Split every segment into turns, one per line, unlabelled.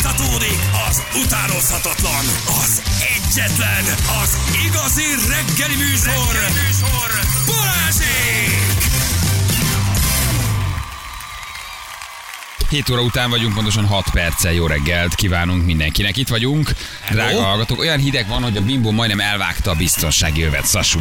Fújtatódik az utánozhatatlan, az egyetlen, az igazi reggeli műsor, reggeli műsor. Balázsék!
7 óra után vagyunk, pontosan 6 perccel jó reggelt kívánunk mindenkinek. Itt vagyunk, drága hallgatók. Olyan hideg van, hogy a bimbo majdnem elvágta a biztonsági övet, Sasu.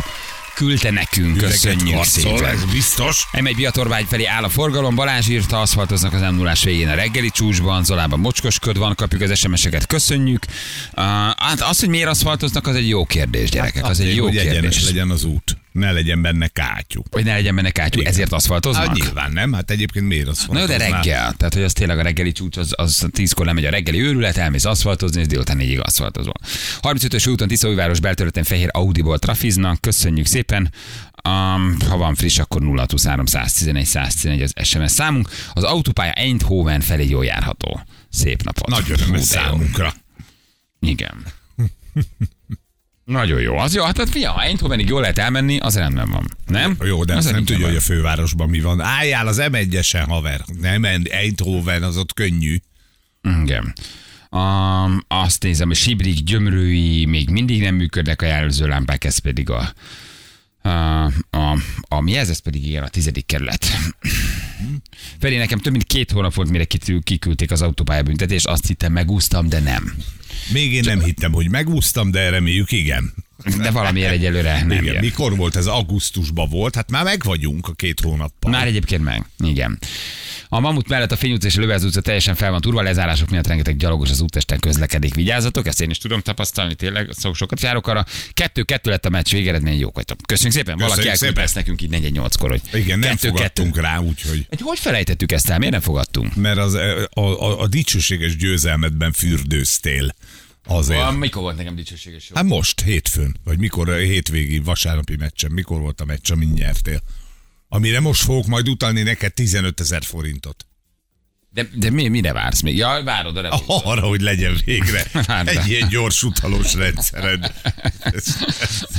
Küldte nekünk, köszönjük
harcol,
szépen.
Szóval ez biztos.
M1 Biatorvágy felé áll a forgalom, Balázs írta, aszfaltoznak az m 0 végén a reggeli csúcsban, Zolában mocskosköd van, kapjuk az SMS-eket, köszönjük. Uh, hát az, hogy miért aszfaltoznak, az egy jó kérdés, gyerekek, az egy jó
Hát hogy egyenes
kérdés.
legyen az út. Ne legyen benne kátyú.
Hogy ne legyen benne kátyú,
Igen.
ezért
Hát
aszfaltoznak?
nyilván nem, hát egyébként miért az
Na jó, de reggel. Tehát, hogy az tényleg a reggeli csúcs, az, az tízkor lemegy a reggeli őrület, elmész aszfaltozni, és délután négyig aszfaltozol. 35-ös úton Tiszaújváros beltörőten fehér Audiból trafiznak, köszönjük szépen. Um, ha van friss, akkor 0623 111 111 az SMS számunk. Az autópálya Eindhoven felé jól járható. Szép napot.
Nagy öröm
Hú,
ez
de jó.
számunkra.
Igen. Nagyon jó. Az jó, hát tehát figyelj, ha Eindhovenig jól lehet elmenni, az rendben van. Nem?
Jó, de
Az
azt nem
rendben
tudja,
van.
hogy a fővárosban mi van. Álljál az M1-esen, haver. Nem, Eindhoven, az ott könnyű.
Igen. Um, azt nézem, hogy Sibrik gyömrői még mindig nem működnek a jelző lámpák, ez pedig a, a, a, a mi ez, ez pedig igen, a tizedik kerület. Feri, nekem több mint két hónap volt, mire kitű- kiküldték az autópályabüntetést, azt hittem megúsztam, de nem.
Még én nem hittem, hogy megúsztam, de reméljük igen.
De valamiért egyelőre nem
igen.
jön.
Mikor volt ez? Augusztusban volt? Hát már meg vagyunk a két hónappal.
Már egyébként meg. Igen. A Mamut mellett a Fény utca és a Lövelz utca teljesen fel van turva, lezárások miatt rengeteg gyalogos az útesten közlekedik. Vigyázzatok, ezt én is tudom tapasztalni, tényleg szok, sokat járok arra. Kettő-kettő lett a meccs végeredmény, jók vagytok. Köszönjük szépen, valaki
Köszönjük
elküldte
szépen.
ezt nekünk így 4 kor hogy
Igen, nem
kettő-kettő.
fogadtunk rá, úgyhogy...
Egy, hogy felejtettük ezt el? Miért nem fogadtunk?
Mert az, a, a, a dicsőséges győzelmedben fürdőztél. Azért.
Ah, Mikor volt nekem dicsőséges jó?
Hát most, hétfőn, vagy mikor a hétvégi vasárnapi meccsen, mikor volt a meccs, amin nyertél? Amire most fogok majd utalni neked 15 ezer forintot.
De, de mi, mire vársz még? Ja, várod arra.
Arra, hogy legyen végre
Várj.
Ah, egy ilyen gyors utalós rendszered. Ez-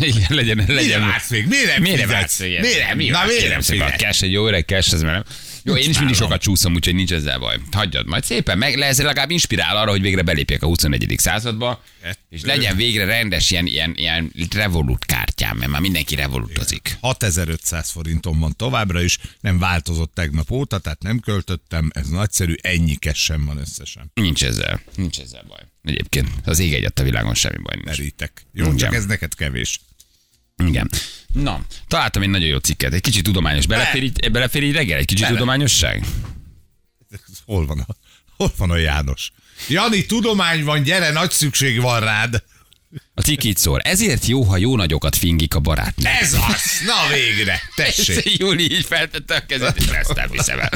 Igen, legyen,
Mire
legyen.
vársz még? Miért nem
Miért
fizetsz?
vársz? Miért?
Miért nem?
Mi
Na,
van?
miért nem
Kérem szépen,
fizetsz?
a cash egy jó öreg cash, ez már nem. Jó, én is mindig
nálam.
sokat csúszom, úgyhogy nincs ezzel baj. Hagyjad, majd szépen meg lesz, legalább inspirál arra, hogy végre belépjek a 21. századba, és legyen végre rendes ilyen, ilyen, ilyen revolut kártyám, mert már mindenki revolutozik.
6500 forintom van továbbra is, nem változott tegnap óta, tehát nem költöttem, ez nagyszerű, ennyi sem van összesen.
Nincs ezzel, nincs ezzel baj. Egyébként az ég egyet a világon semmi baj nincs.
Merítek. Jó, csak
Igen.
ez neked kevés.
Igen. Na, találtam egy nagyon jó cikket, egy kicsit tudományos. Belefér így, belefér így reggel, egy kicsit tudományosság?
Ez Hol van a, hol van a János? Jani, tudomány van, gyere, nagy szükség van rád.
A cikk így szól. Ezért jó, ha jó nagyokat fingik a barátnő.
Ez az! Na végre! Tessék!
Tessék. Júli így feltette a kezét, és ezt nem hiszem el.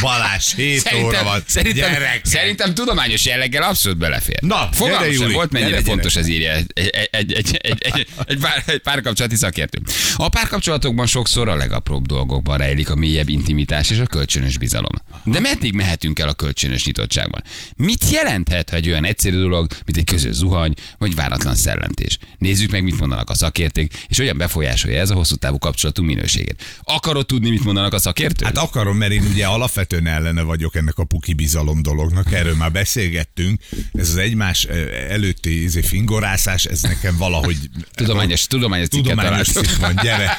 Balázs, 7 óra van.
szerintem,
Gyerekek.
szerintem tudományos jelleggel abszolút belefér.
Na,
fogalmam
gyere,
sem
Júli,
volt, mennyire
gyere, gyere.
fontos ez írja egy, egy, egy, egy, egy, egy, egy, pár, egy párkapcsolati szakértő. A párkapcsolatokban sokszor a legapróbb dolgokban rejlik a mélyebb intimitás és a kölcsönös bizalom. De meddig mehetünk el a kölcsönös nyitottságban? Mit jelenthet ha egy olyan egyszerű dolog, mint egy közös zuhany, vagy váratlan szellentés? Nézzük meg, mit mondanak a szakértők, és hogyan befolyásolja ez a hosszú távú kapcsolatunk minőségét. Akarod tudni, mit mondanak a szakértők?
Hát akarom, mert én ugye alapvetően ellene vagyok ennek a puki bizalom dolognak, erről már beszélgettünk. Ez az egymás ö, előtti izé, fingorászás, ez nekem valahogy...
Tudományos, tudományos cikket
Tudományos
találtam.
cikk van, gyere.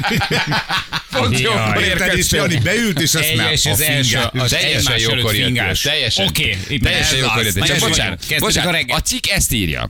Pont jókor
Érted, és
érkeztél.
Jani beült, és azt már
Egyes
a
az első,
fingát.
az
Teljesen
egymás
jókor
előtt
jöttél.
fingás.
Teljesen,
Oké, itt
teljesen
ez
jókor
az.
jöttél. Csak
Nagyon jó.
bocsánat,
Kezdődik a
bocsánat,
reggel.
a cikk ezt írja.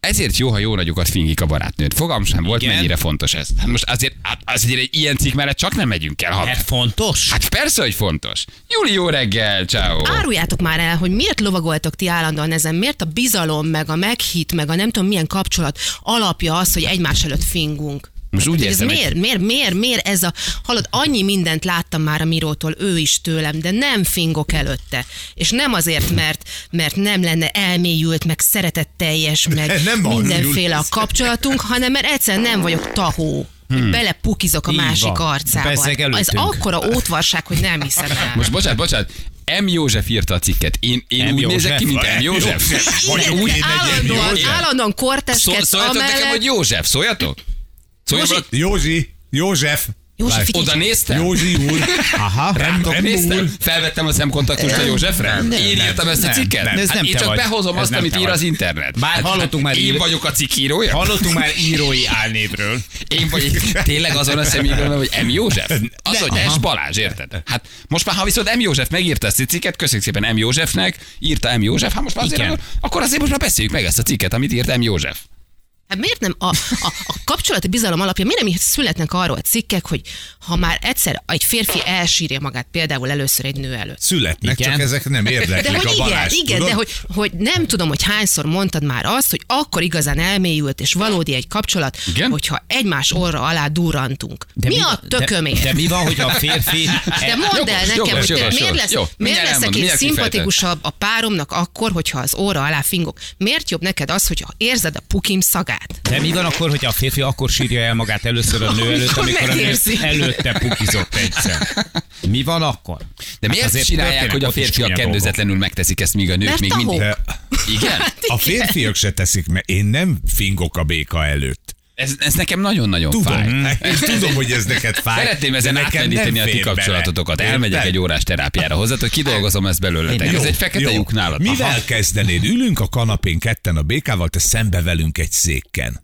Ezért jó, ha jó nagyokat fingik a barátnőd. Fogalm sem volt,
Igen.
mennyire fontos ez. Hát most azért, hát azért egy ilyen cikk mellett csak nem megyünk el. Ha...
Mert fontos?
Hát persze, hogy fontos. Júli, jó reggel, ciao.
Áruljátok már el, hogy miért lovagoltok ti állandóan ezen, miért a bizalom, meg a meghit, meg a nem tudom milyen kapcsolat alapja az, hogy egymás előtt fingunk.
Most úgy
Hogy ez
érzem, hogy-
miért, miért, miért, miért ez a... Hallod, annyi mindent láttam már a Mirótól, ő is tőlem, de nem fingok előtte. És nem azért, mert, mert nem lenne elmélyült, meg szeretetteljes, meg
Nem az,
mindenféle
Júli.
a kapcsolatunk, hanem mert egyszerűen nem vagyok tahó. Hmm. Belepukizok a
Így
másik
van.
arcába.
Bezzeg
Ez
előttünk.
akkora ótvarság, hogy nem hiszem el.
Most bocsánat, bocsánat. M. József írta a cikket. Én, én
M.
úgy nézek ki, mint M.
József.
József.
Vagy
Igen,
úgy,
te állandóan,
József.
állandóan
Szó-
korteskedsz
Szóljatok
amellett.
nekem, hogy József, szóljatok? Szóljatok?
Józsi, József,
József, figyelj
Oda
csak.
néztem?
Józsi úr. Aha,
Rátok
rendben úr.
néztem? Felvettem a szemkontaktust a Józsefre?
nem,
Én
nem,
írtam ezt a
nem,
cikket?
nem,
Hát
ez nem
én
te
csak
vagy.
behozom
Ez
azt,
nem
amit
te
ír
vagy.
az internet. Hát
Bár hallottunk már
Én
ír-
vagyok a cikk írója?
Hallottunk már írói álnévről.
Én vagy tényleg azon a személyben, hogy M. József? Az, hogy S. Balázs, érted? Hát most már, ha viszont M. József megírta ezt a cikket, köszönjük szépen M. Józsefnek, írta M. József, hát most már azért,
Igen.
akkor- akkor azért most már beszéljük meg ezt a cikket, amit írt M. József.
Hát miért nem a, a, a kapcsolati bizalom alapja, miért nem születnek arról cikkek, hogy ha már egyszer egy férfi elsírja magát például először egy nő előtt.
Születnek,
Igen.
csak ezek nem
De
érdeklik
hogy
a
igen,
Balázs,
igen
tudod?
de hogy, hogy nem tudom, hogy hányszor mondtad már azt, hogy akkor igazán elmélyült és valódi egy kapcsolat,
Igen?
hogyha egymás orra alá durrantunk. De mi, a tökömért?
De, de mi van, hogy a férfi...
De mondd el
Jogos,
nekem,
jogos,
hogy te
jogos,
miért,
jogos.
lesz,
Jó,
miért
mindjárt elmondom,
leszek én
mindjárt kifejtem.
szimpatikusabb a páromnak akkor, hogyha az óra alá fingok? Miért jobb neked az, hogyha érzed a pukim szagát?
De mi van akkor, hogy a férfi akkor sírja el magát először a nő előtt,
Amikor
amikor a nő
megérzi.
előtte pukizott egyszer? Mi van akkor?
De
Hát
miért
azért
csinálják,
történnek
hogy a
ott is
férfiak
csúnya
kendőzetlenül megteszik ezt, míg a nők
Mert
még
a
mindig?
hó.
De
Igen?
a férfiak se teszik, mert én nem fingok a béka előtt.
Ez, ez nekem nagyon-nagyon
Tudom, Hát
fáj.
én tudom, hogy ez neked fáj.
Szeretném ezen
de nekem nem
átlendíteni a ti
fér bele.
kapcsolatotokat.
Érted?
Elmegyek egy órás terápiára hozzátok, hogy kidolgozom ezt belőletek.
Jó,
Ez egy fekete
Jó.
lyuk nálatok.
Mivel
Aha.
kezdenéd? Ülünk a kanapén ketten a békával, te szembe velünk egy székken.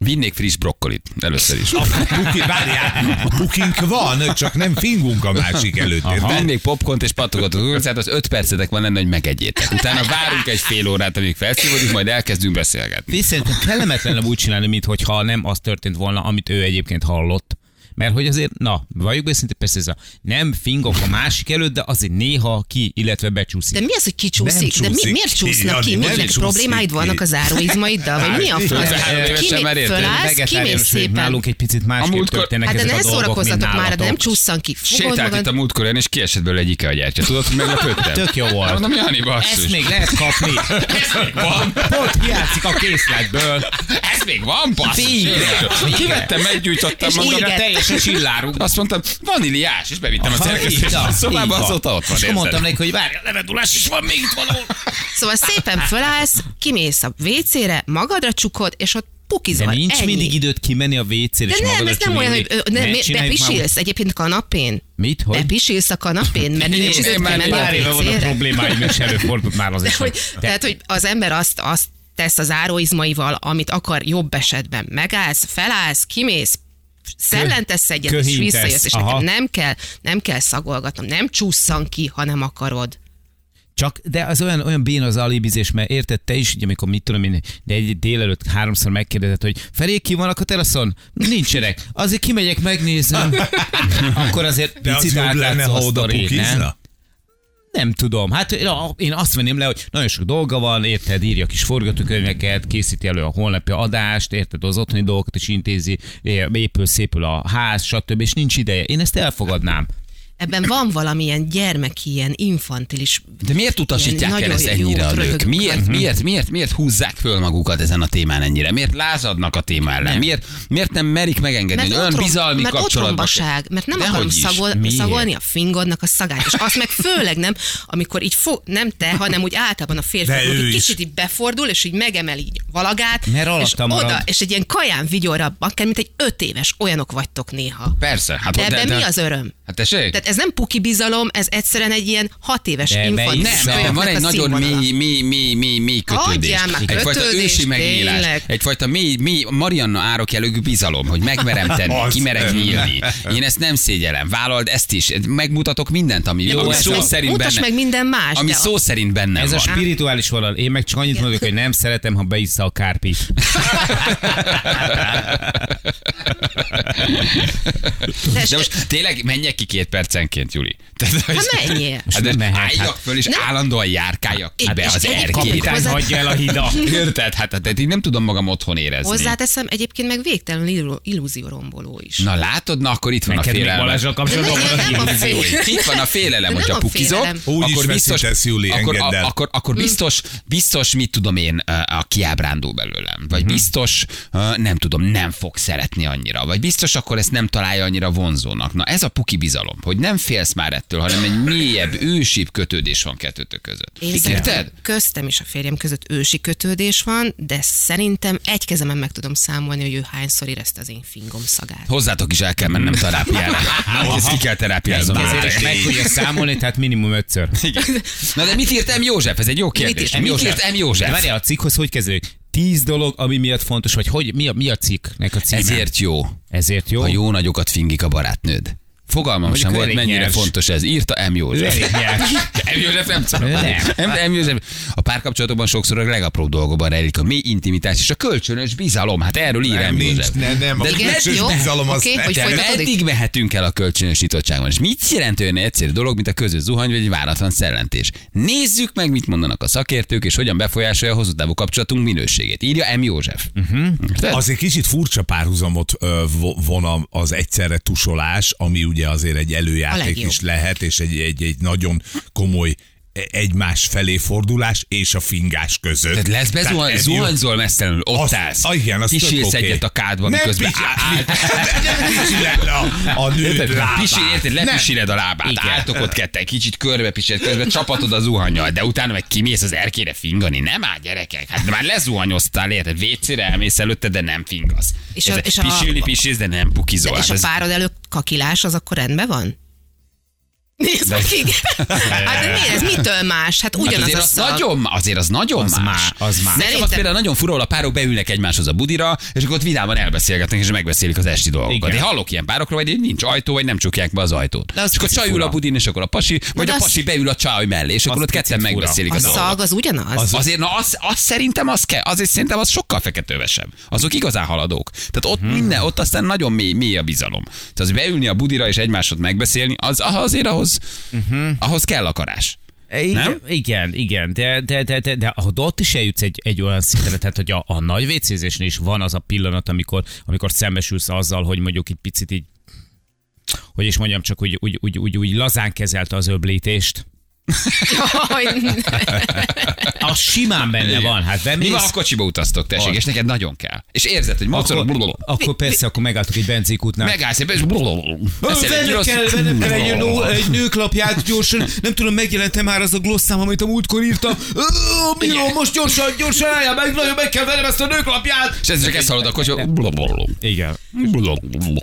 Vinnék friss brokkolit először is.
Puki, várjál, pukink van, csak nem fingunk a másik előtt, érted?
Vennék popcornt és pattogatott kukoricát, az öt percetek van lenne, hogy megegyétek. Utána várunk egy fél órát, amíg felszívódik, majd elkezdünk beszélgetni.
És szerintem kellemetlenebb úgy csinálni, mintha nem az történt volna, amit ő egyébként hallott. Mert hogy azért, na, valljuk be szinte persze ez a nem fingok a másik előtt, de azért néha ki, illetve becsúszik.
De mi az, hogy kicsúszik?
Nem
De mi,
csúszik
miért
ki,
csúsznak
Jani,
ki?
nem
Mindenek
csúszik
problémáid
ki.
vannak az áróizmaiddal? Vagy mi a
hát,
fasz?
Három évesen
Ki
már
még
érted,
fölállsz, ki még
Vegetáriánus vagyok,
szépen?
hát, nálunk egy picit másképp
múltkor-
történnek
Hát de
ezek
ne
a dolgok, mint
szórakozzatok már, de
nálatok.
nem csúszsan ki. Fogod
Sétált itt a
magad.
múltkor olyan, és kiesett belőle egy IKEA gyertya. Tudod, hogy meglepődtem?
Tök jó volt.
Mondom, Jani, basszus.
Ezt még lehet kapni.
Ez még van.
Pont hiányzik a készletből.
Ez még van, basszus.
Végre.
Jézusom. Kivettem, meggyújtottam
És
magam.
Újra
Igen.
teljesen csillárunk.
Azt mondtam, vaníliás, és bevittem a
Aha, így
szerkesztést.
van,
A szobába
így van.
azóta ott van.
És akkor mondtam
érzed?
neki, hogy várj, a levendulás is van még itt valahol.
Szóval szépen fölállsz, kimész a WC-re, magadra csukod, és ott pukizol.
De nincs
Ennyi.
mindig időt kimenni a WC-re,
De
és
nem,
magadra
ez nem olyan, hogy ö,
Ne
ne, mi-
csináljuk már-
bepisilsz egyébként kanapén.
Mit, hogy?
Bepisilsz a kanapén, mert
Én-
nincs
én
időt
már
kimenni
pár
a
éve van a
WC-re.
problémáim, és előfordult már az
De
is.
hogy, tehát, hogy az ember azt, azt tesz az áróizmaival, amit akar jobb esetben. Megállsz, felállsz, kimész, szellentesz egyet, és
köhintesz,
visszajössz, és
aha.
nekem nem kell, nem kell szagolgatnom, nem csúszsan ki, ha nem akarod.
Csak, de az olyan, olyan bén az alibizés, mert érted te is, hogy amikor mit tudom én, de egy délelőtt háromszor megkérdezett, hogy Feri, ki vannak a teraszon? Nincsenek. Azért kimegyek, megnézem. Akkor azért
De az
picit
jobb lenne,
átlátszó
ha
a
oda
sztori, nem?
pukizna.
Nem tudom. Hát én- én azt venném le, hogy nagyon sok dolga van, érted, írja kis forgatókönyveket, készíti elő a holnapi adást, érted, az otthoni dolgokat is intézi, é- épül, szépül a ház, stb. És nincs ideje. Én ezt elfogadnám.
Ebben van valamilyen gyermeki, ilyen infantilis
De miért utasítják
Ilyen
el ezt
nagyon jó
ennyire a nők?
röhögök.
Miért, miért, miért, miért húzzák föl magukat ezen a témán ennyire? Miért lázadnak a téma ellen? Miért, miért nem merik megengedni, hogy olyan
otrom-
bizalmi
mert
kapcsolatban?
otrombaság, mert nem
Dehogy
akarom
is.
szagol,
Miért?
szagolni a fingodnak a szagát, és azt meg főleg nem, amikor így fo- nem te, hanem úgy általában a férfi,
De ő
egy
is.
kicsit így befordul, és így megemeli így valagát,
Mert
és
alatta marad.
oda, és egy ilyen kaján vigyorra, akár mint egy öt éves, olyanok vagytok néha.
Persze. Hát,
De ebben mi az öröm?
Hát tessék?
Tehát ez nem puki bizalom, ez egyszerűen egy ilyen hat éves
De
infantilis
melyik
nem,
kölyöknek
ebben van
a
egy nagyon
színvonala.
mély, mély, mély, mély, mély kötődés.
Adjál már
Egyfajta
kötődés,
ősi megnyílás.
tényleg.
Egyfajta mély, mély Marianna árok jellegű bizalom, hogy megmerem tenni,
Az.
kimerek nyílni. Én ezt nem szégyelem. Vállald ezt is. Mutatok mindent, ami jó, ami
mutasd
szó
meg-
szerint
mutasd
benne.
meg minden más,
Ami
de a-
szó szerint benne
Ez a
van.
spirituális vonal. Én meg csak annyit
Igen.
mondok, hogy nem szeretem, ha beissza a kárpit.
De és-
De most tényleg menjek ki két percenként, Juli. Tehát, hogy-
Hát menjél.
Most
Hát, de
nem mehet,
álljak
hát.
föl, és
Nem.
állandóan járkáljak ki
És-
be
és
az
egyébként
erkére.
Kapitány
Hozzá-
hagyja el a hida.
Érted? Hát, hát, hát így nem tudom magam otthon érezni.
Hozzáteszem, egyébként meg végtelen illú- illúzióromboló is.
Na látod, na akkor itt van
Neked
a
még
félelem.
Balázsra kapcsolatban
Nem,
van
nem,
a
nem,
illúzió.
fél-
Itt van a félelem,
De
hogy
nem
a
a
pukizok,
félelem.
Úgy is veszítesz, Juli,
akkor,
engedd el.
akkor, akkor biztos, biztos, mit tudom én, a kiábrándul belőlem. Vagy
Mhm.
biztos, ö, nem tudom, nem fog szeretni annyira. Vagy biztos, akkor ezt nem találja annyira vonzónak. Na ez a puki bizalom. Hogy nem félsz már ettől, hanem egy mélyebb, ősibb kötődés van kettőtök között.
Én
Érted?
szerintem köztem és a férjem között ősi kötődés van, de szerintem egy kezemen meg tudom számolni, hogy ő hányszor érezte az én fingom szagát.
Hozzátok is el kell mennem terápiára. Na, ezt ki kell terápiáznom.
Ezért meg tudja számolni, tehát minimum ötször.
Igen. Na de mit írt M. József? Ez egy jó kérdés. Mit, írt M. József?
De Várjál, a cikkhoz hogy kezdődik? Tíz dolog, ami miatt fontos, vagy hogy, mi, a, mi a cikknek a címe?
Ezért jó,
Ezért jó.
ha jó nagyokat fingik a barátnőd. Fogalmam
Mondjuk
sem volt,
elég
mennyire
nyers.
fontos ez. Írta M. József.
Elég nyers.
M. József nem tudom.
Nem.
M. M. József. A párkapcsolatokban sokszor a legapróbb dolgokban rejlik a mély intimitás és a kölcsönös bizalom. Hát erről ír
Nem,
M.
nincs,
József.
ne, nem.
De
a
igen,
kölcsönös
jó,
bizalom az
oké,
ne-
hogy
De
folytatódik?
meddig mehetünk el a kölcsönös nyitottságban? És mit jelent olyan egyszerű dolog, mint a közös zuhany vagy egy váratlan szellentés? Nézzük meg, mit mondanak a szakértők, és hogyan befolyásolja a hosszú távú kapcsolatunk minőségét. Írja M. József. Uh-huh.
Az egy kicsit furcsa párhuzamot ö, vo- von a- az egyszerre tusolás, ami ugye azért egy
A
előjáték
legjobb.
is lehet, és egy, egy, egy nagyon komoly e- egymás felé fordulás és a fingás között.
Tehát lesz bezuhan,
ez
zuhanyzol messzelenül, ott
Az-
állsz.
ah, igen, az tök
Kísérsz
oké.
egyet a kádban,
Nem
miközben
pizsálni. Nem pizsálni le a- a nőd lábát.
Pisil, érted, lepisíred a lábát,
Igen.
álltok ott ketten, kicsit körbe pisíred, közben csapatod az zuhanyjal, de utána meg kimész az erkére fingani. Nem áll, gyerekek, hát már lezuhanyoztál, érted, vécére elmész előtte, de nem fingasz.
És
És
a-
a,
és a-
pisilni pisilsz, de nem pukizol.
És
Hát
a
ez-
párod előtt kakilás, az akkor rendben van? Nézd meg, igen. Hát de miért? Ez mitől más? Hát
Hát
ugyanaz
azért
a
az,
szag.
nagyon, azért az nagyon
Az
más.
má- az más.
Nekem az
Szerintem-
például nagyon fura, ahol a párok beülnek egymáshoz a budira, és akkor ott vidáman elbeszélgetnek, és megbeszélik az esti dolgokat.
Igen.
Én hallok ilyen párokról, vagy nincs ajtó, vagy nem csukják be az ajtót.
az
és akkor
picit
csaj ül
fura.
a budin, és akkor a pasi, vagy
de
a
az-
pasi beül a csaj mellé, és akkor ott
picit
ketten
fura.
megbeszélik
A
az dolgokat.
szag az ugyanaz?
Az, azért, na az, az szerintem az kell, azért szerintem az sokkal feketővesebb. Azok igazán haladók. Tehát ott hmm. minden, ott aztán nagyon mély, mély a bizalom. Tehát az beülni a budira és egymásod megbeszélni, az azért ahhoz, uh-huh. ahhoz kell akarás.
Igen,
Nem?
igen, igen, de, de, de, de, de ha ott is eljutsz egy, egy olyan szintre, tehát hogy a, a nagy vécézésnél is van az a pillanat, amikor, amikor szembesülsz azzal, hogy mondjuk egy picit így, hogy is mondjam, csak úgy, úgy, úgy, úgy, úgy lazán kezelte az öblítést.
Jaj, ne.
Az simán benne van, hát
Mi van,
bemész,
ha kocsiba utaztok, tessék,
Az.
és neked nagyon kell. És érzed, hogy mocorog,
akkor,
blablabla.
akkor persze, akkor megálltok egy benzikútnál.
megállsz, és blablabla. Veszel egy
Vennem
rossz-
kell, vennem kell egy, nő, egy nőklapját gyorsan, nem tudom, megjelentem már az a glosszám, amit a múltkor írtam. Ö, Miló, most gyorsan, gyorsan álljál meg, nagyon meg kell vennem ezt a nőklapját.
És ez csak ezt hallod a kocsiba. blablabla.
Igen.
Blablabla. És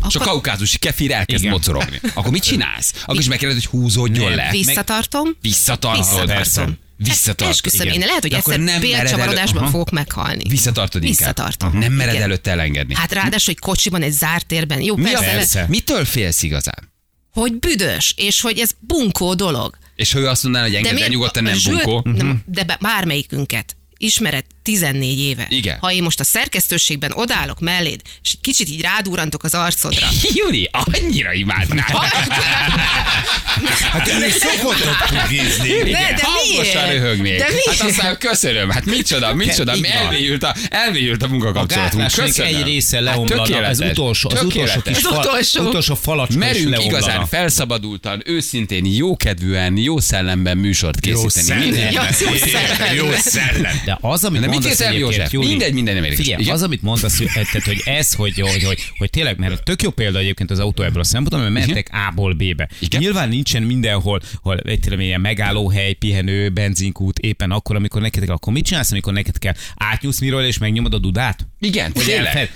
a
Akkor-
kaukázusi kefir elkezd
Igen.
mocorogni. Akkor mit csinálsz? Akkor is megkérdezed, hogy húzódjon le.
Visszatartom.
Visszatartod.
Visszatartom. Hát,
Visszatartod.
Esküszöm,
igen.
én lehet, hogy
De akkor
egyszer
nem mered elő-
bélcsavarodásban
Aha.
fogok meghalni.
Visszatartod inkább.
Visszatartom.
Aha. Nem mered
Igen.
előtte elengedni.
Hát ráadásul, hogy kocsiban, egy zárt térben. Jó,
Mi a
persze,
persze?
le-
Mitől félsz igazán?
hogy büdös, és hogy ez bunkó dolog.
És ha ő azt mondaná, hogy engedd el
miért-
nyugodtan, nem
Zsűr-
bunkó. Mhm.
Nem, De be- bármelyikünket ismered 14 éve.
Igen.
Ha én most a szerkesztőségben odállok melléd, és egy kicsit így rádúrantok az arcodra,
Júli, annyira imádnám.
Hát ő is szokott ott pugizni.
De- de
Hangosan
miért?
röhögnék.
De miért?
Hát aztán köszönöm, hát micsoda, micsoda,
Így
mi
van.
elmélyült a, elmélyült a
A
munkakapcsolatunk.
gátlásnak
Köszönöm.
egy része
Hát
leomlana,
tökéletes.
az utolsó, az utolsó
Tökéletes.
kis fal,
Az utolsó.
utolsó falacska is
Merünk
leomlana.
igazán felszabadultan, őszintén, jókedvűen, jó szellemben műsort készíteni. Minden-
Ja, jó szellem.
Jó szellem.
De az, amit
De mit
mondasz
érzel,
egyébként,
József?
Júli,
Mindegy, minden nem érdekes.
Figyelj,
Igen.
az, amit mondasz, hogy- tehát, hogy ez, hogy, hogy, hogy, hogy tényleg, mert tök jó példa egyébként az autó ebből a szempontból, mert mentek A-ból B-be.
Igen.
Nyilván nincsen mindenhol, hol egy tényleg ilyen megállóhely, pihenő, benzinkút, éppen akkor, amikor neked kell, akkor mit csinálsz, amikor neked kell? Átnyúsz miről és megnyomod a dudát?
Igen,
Hogy
tényleg.
elfed?